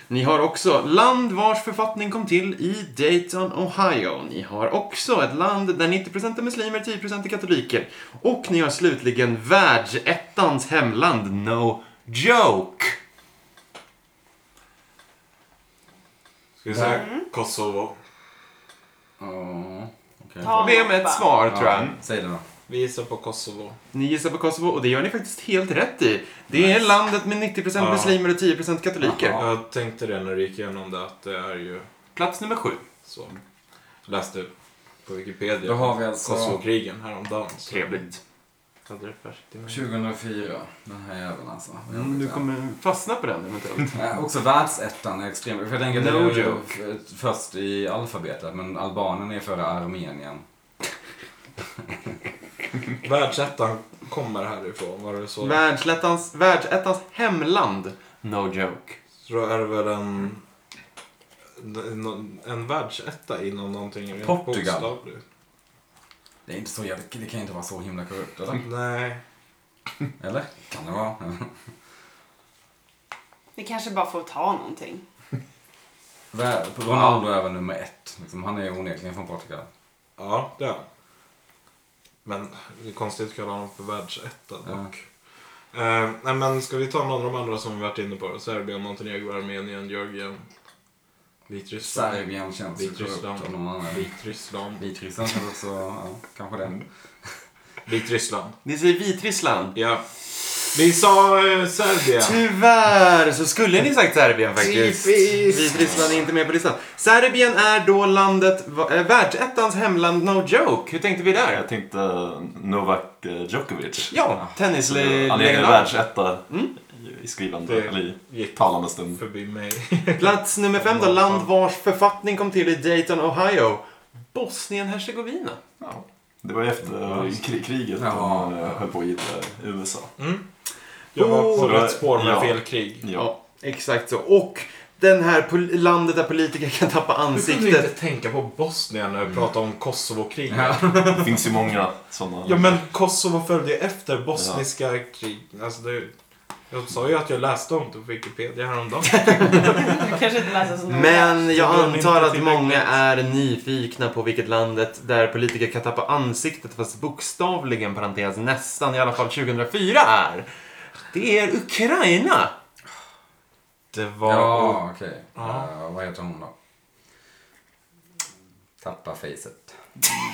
S1: Ni har också land vars författning kom till i Dayton, Ohio. Ni har också ett land där 90% är muslimer, 10% är katoliker. Och ni har slutligen världsettans hemland, No Joke.
S7: Ska vi säga
S2: Mm.
S7: Kosovo?
S2: Ja, okej.
S4: Ta
S1: Be om
S4: Europa.
S1: ett svar, tror jag.
S2: Ja, Säg det då.
S3: Vi gissar på Kosovo.
S1: Ni gissar på Kosovo och det gör ni faktiskt helt rätt i. Det är landet med 90%
S3: Ja.
S1: muslimer och 10% katoliker.
S2: Jaha.
S3: Jag tänkte det när du gick igenom det att det är ju
S1: Plats nummer sju.
S3: så. Läste på Wikipedia.
S2: Då har vi alltså-
S3: Kosovokrigen häromdagen. så
S1: Trevligt.
S3: Hade det färskt i minnet.
S2: 2004. Den här jäveln alltså.
S1: Mm, du kommer fastna på den eventuellt.
S2: Eh, också världsettan är extrem. För jag tänker att
S1: No
S2: det är ju
S1: joke.
S2: f- först i alfabetet, men Albanien är före Armenien.
S3: Världsettan kommer härifrån, var det så?
S1: Världsettans, världsettans hemland. No joke.
S3: Så då är det väl en... En, en världsetta inom någonting. rent
S2: Portugal.
S3: bokstavligt.
S2: Det är inte så jävligt, det kan inte vara så himla korrupt eller?
S3: Nej.
S2: Eller? Kan det vara?
S4: Vi kanske bara får ta någonting.
S2: Vär- Ronaldo är väl nummer ett. Liksom, han är onekligen från Portugal.
S3: Ja, det är han. Men det är konstigt att kalla honom för världsetta
S2: Ja.
S3: dock. Eh, nej men ska vi ta någon av de andra som vi varit inne på? Serbien, Montenegro, Armenien, Georgien, Vitryssland.
S2: Serbien känns ju korrupt
S3: Vitryssland.
S2: av någon annan.
S3: Vitryssland.
S2: Vitryssland känns också, ja, kanske det.
S3: Vitryssland.
S1: Ni säger Vitryssland.
S3: Ja. Vi sa eh, Serbien.
S1: Tyvärr så skulle ni sagt Serbien faktiskt.
S3: Typiskt.
S1: Vitryssland är inte med på listan. Serbien är då landet, va- eh, världsettans hemland No Joke. Hur tänkte vi där?
S5: Jag tänkte eh, Novak eh, Djokovic.
S1: Ja, alltså,
S5: Han är
S1: tennislegendar.
S5: världsetta
S1: Mm.
S5: i skrivande,
S3: Det-
S5: eller i
S3: Gick
S5: talande stund.
S3: förbi mig.
S1: Plats nummer fem då, land vars författning kom till i Dayton, Ohio. Bosnien-Hercegovina.
S5: Ja. Det var ju efter eh, kri- kriget
S2: Ja.
S5: de eh, höll på att gilla USA.
S3: Jag var på
S5: Oh.
S3: rätt spår med
S5: Ja.
S3: fel krig.
S5: Ja.
S1: Ja, exakt så. Och den här pol- landet där politiker kan tappa
S3: Du kunde inte
S1: ansiktet.
S3: tänka på Bosnien när vi pratade om Kosovokriget.
S5: Det finns ju många sådana.
S3: Ja men Kosovo följde ju efter bosniska krig. Alltså det, jag sa ju att jag läste om det på Wikipedia häromdagen.
S4: Du kanske inte läser så noga.
S1: Men jag
S3: Det var
S1: antar
S3: inte
S1: att
S3: tillräckligt.
S1: många är nyfikna på vilket landet där politiker kan tappa ansiktet fast bokstavligen parentes nästan i alla fall 2004 är. Det är Ukraina!
S3: Det var...
S2: Ja, okej.
S3: Ja.
S2: Eh, vad heter hon då? Tappa facet.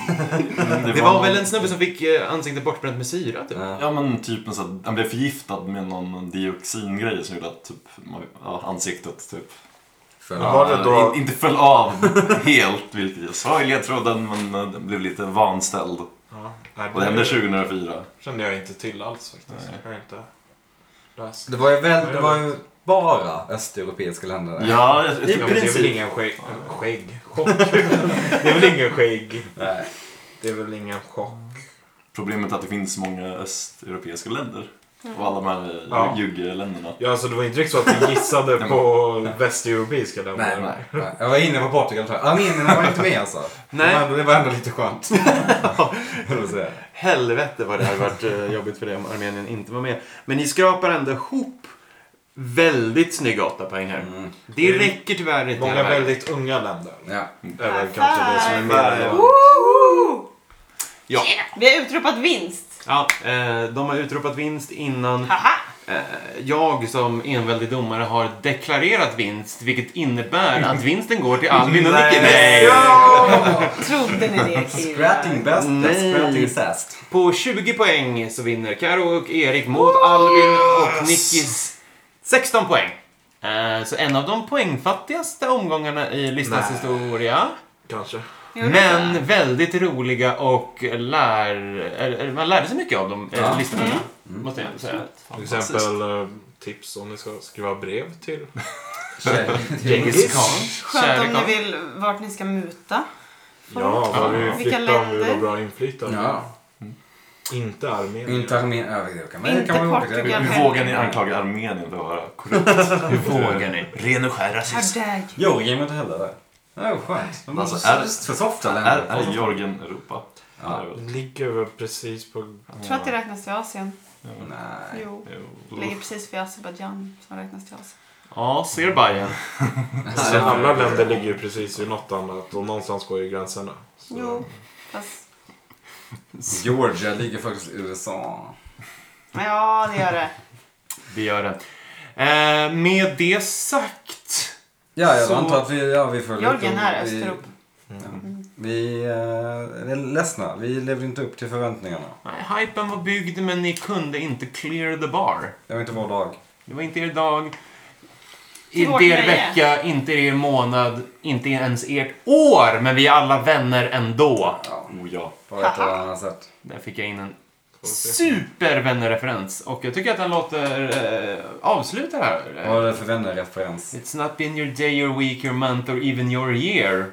S5: Mm, det,
S1: Det var väl en snubbe som fick eh, ansiktet bortbränt med syra typ.
S2: Eh,
S5: Ja men typ en sån, han blev förgiftad med någon dioxingrej som gjorde att typ, ja, ansiktet typ
S2: för-
S3: Men var det då-
S5: in- inte föll av helt, vilket jag sa i ledtråden men eh, den blev lite vanställd.
S3: Ja. Nej,
S5: Och det hände 2004.
S3: kände jag inte till alls faktiskt. Jag har inte läst.
S2: Det var ju, väl, det var ju bara östeuropeiska länder. där.
S5: Ja, jag, jag
S1: I
S3: Ja,
S5: tycker
S3: men det är väl
S1: princip.
S3: ingen skägg... Skägg? Chock? det är väl ingen skägg?
S2: Nej.
S3: Det är väl ingen chock?
S5: problemet är att det finns många östeuropeiska länder. Och alla de här
S3: Ja.
S5: ja. juggeländerna.
S3: Ja alltså det var inte riktigt så att vi gissade på västeuropeiska länder.
S2: Nej, nej, nej. Jag var inne på Portugal tror jag. Armenierna var inte med alltså.
S1: Nej.
S2: Men det var ändå lite skönt. Höll jag säga.
S1: Helvete vad det hade varit eh, jobbigt för dig om Armenien inte var med. Men ni skrapar ändå ihop väldigt snygga åtta poäng här.
S2: Mm.
S1: Det räcker tyvärr inte
S3: Många
S1: hela vägen.
S3: väldigt unga länder.
S2: Ja.
S3: Eller kanske det som är mer...
S4: Woho!
S1: Ja.
S4: Vi har utropat vinst.
S1: Ja, eh, de har utropat vinst innan
S4: Haha!
S1: eh, jag som enväldig domare har deklarerat vinst, vilket innebär att vinsten går till Albin och Nicky.
S2: Nej.
S4: Ja! Trodde ni det
S2: Scratting best,
S1: Nej.
S2: scratting sast.
S1: På 20 poäng så vinner Karo och Erik mot Albin och Nickis 16 poäng. Eh, Så en av de poängfattigaste omgångarna i listans
S3: Nej.
S1: historia.
S3: Kanske.
S1: Men väldigt roliga och lär... eller, Man lärde sig mycket av dem, eh,
S2: Ja. Mm.
S1: listorna. Måste jag ändå säga.
S3: Till exempel eh, tips om ni ska skriva brev till.
S1: Genghis Khan.
S4: Skönt om
S1: Kärlek Khan.
S4: ni vill vart ni ska muta.
S3: Ja, vad
S2: Ja.
S3: vi
S4: Vilka
S3: flyttar om vi vill ha
S4: länder?
S3: bra inflytande.
S2: Ja.
S3: Inte Armenien.
S2: Inte Armenien. Ja, det kan man-
S4: Inte
S2: det kan man-
S4: Portugal.
S5: Hur, hur vågar ni anklaga Armenien för att vara korrupt?
S1: Hur vågar ni?
S5: Ren och skär rasism.
S4: How dare you.
S2: Georgien var inte heller där. Det var skönt. De
S5: Alltså,
S2: är
S5: är-
S2: just för softa
S5: Är,
S2: länder.
S5: är Georgien Europa?
S2: Ja.
S5: Det är väl-
S3: Det ligger väl precis på...
S4: Jag tror att det räknas till Asien.
S2: Nej.
S4: Jo.
S5: Jo.
S4: Ligger precis vid Azerbajdzjan som räknas till Asien.
S1: Ja, ser Bayern.
S6: Så alla länder ligger ju precis vid något annat och någonstans går ju gränserna. Så-
S4: Jo, fast...
S2: Georgia ligger faktiskt i USA.
S4: Ja, det gör det.
S1: Det gör det. Eh, med det sagt.
S2: Ja, jag
S1: Så-
S2: antar att vi, ja, vi följer
S4: Georgien är
S2: vi, Mm.
S4: Östeuropa.
S2: vi eh, är ledsna. Vi levde inte upp till förväntningarna.
S1: Nej, hypen var byggd men ni kunde inte clear the bar.
S2: Det var inte vår dag.
S1: Det var inte er dag.
S4: Till vårt
S1: Inte er
S4: nöje.
S1: vecka, inte er månad, inte ens ert år. Men vi är alla vänner ändå.
S2: Ja,
S5: Oh ja.
S2: på ett eller annat sätt.
S1: Där fick jag in en supervännerreferens. Och jag tycker att den låter eh, avsluta här.
S2: Vad var det för vännerreferens?
S1: It's not been your day, your week, your month or even your year.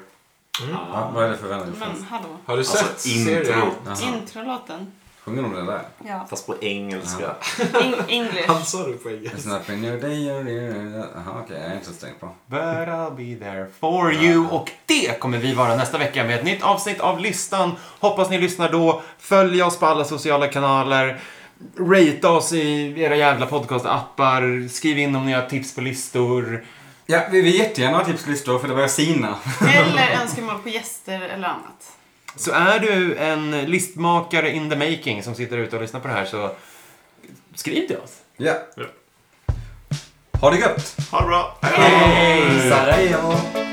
S2: Ja, vad är det för
S4: Men
S2: vännerreferens?
S4: hallå.
S6: Har du
S5: Alltså,
S6: sett
S5: intro.
S6: serien?
S2: Jaha,
S4: Introlåten.
S2: Sjunger de det där?
S4: Ja.
S5: Fast på engelska.
S4: In- English.
S6: Dansar du på engelska?
S2: It's not been your day, your year. Jaha, okej, jag är inte så tänkt på.
S1: But I'll be there for you. Och det kommer vi vara nästa vecka med ett nytt avsnitt av listan. Hoppas ni lyssnar då. Följ oss på alla sociala kanaler. Rate oss i era jävla podcastappar. Skriv in om ni har tips på listor.
S2: Ja, vi vill jättegärna ha tips på listor för det börjar sina.
S4: Eller önskemål på gäster eller annat.
S1: Så är du en listmakare in the making som sitter ute och lyssnar på det här så skriv till oss.
S2: Ja. Ha det gött!
S1: Ha det bra.
S2: Hej! Hej!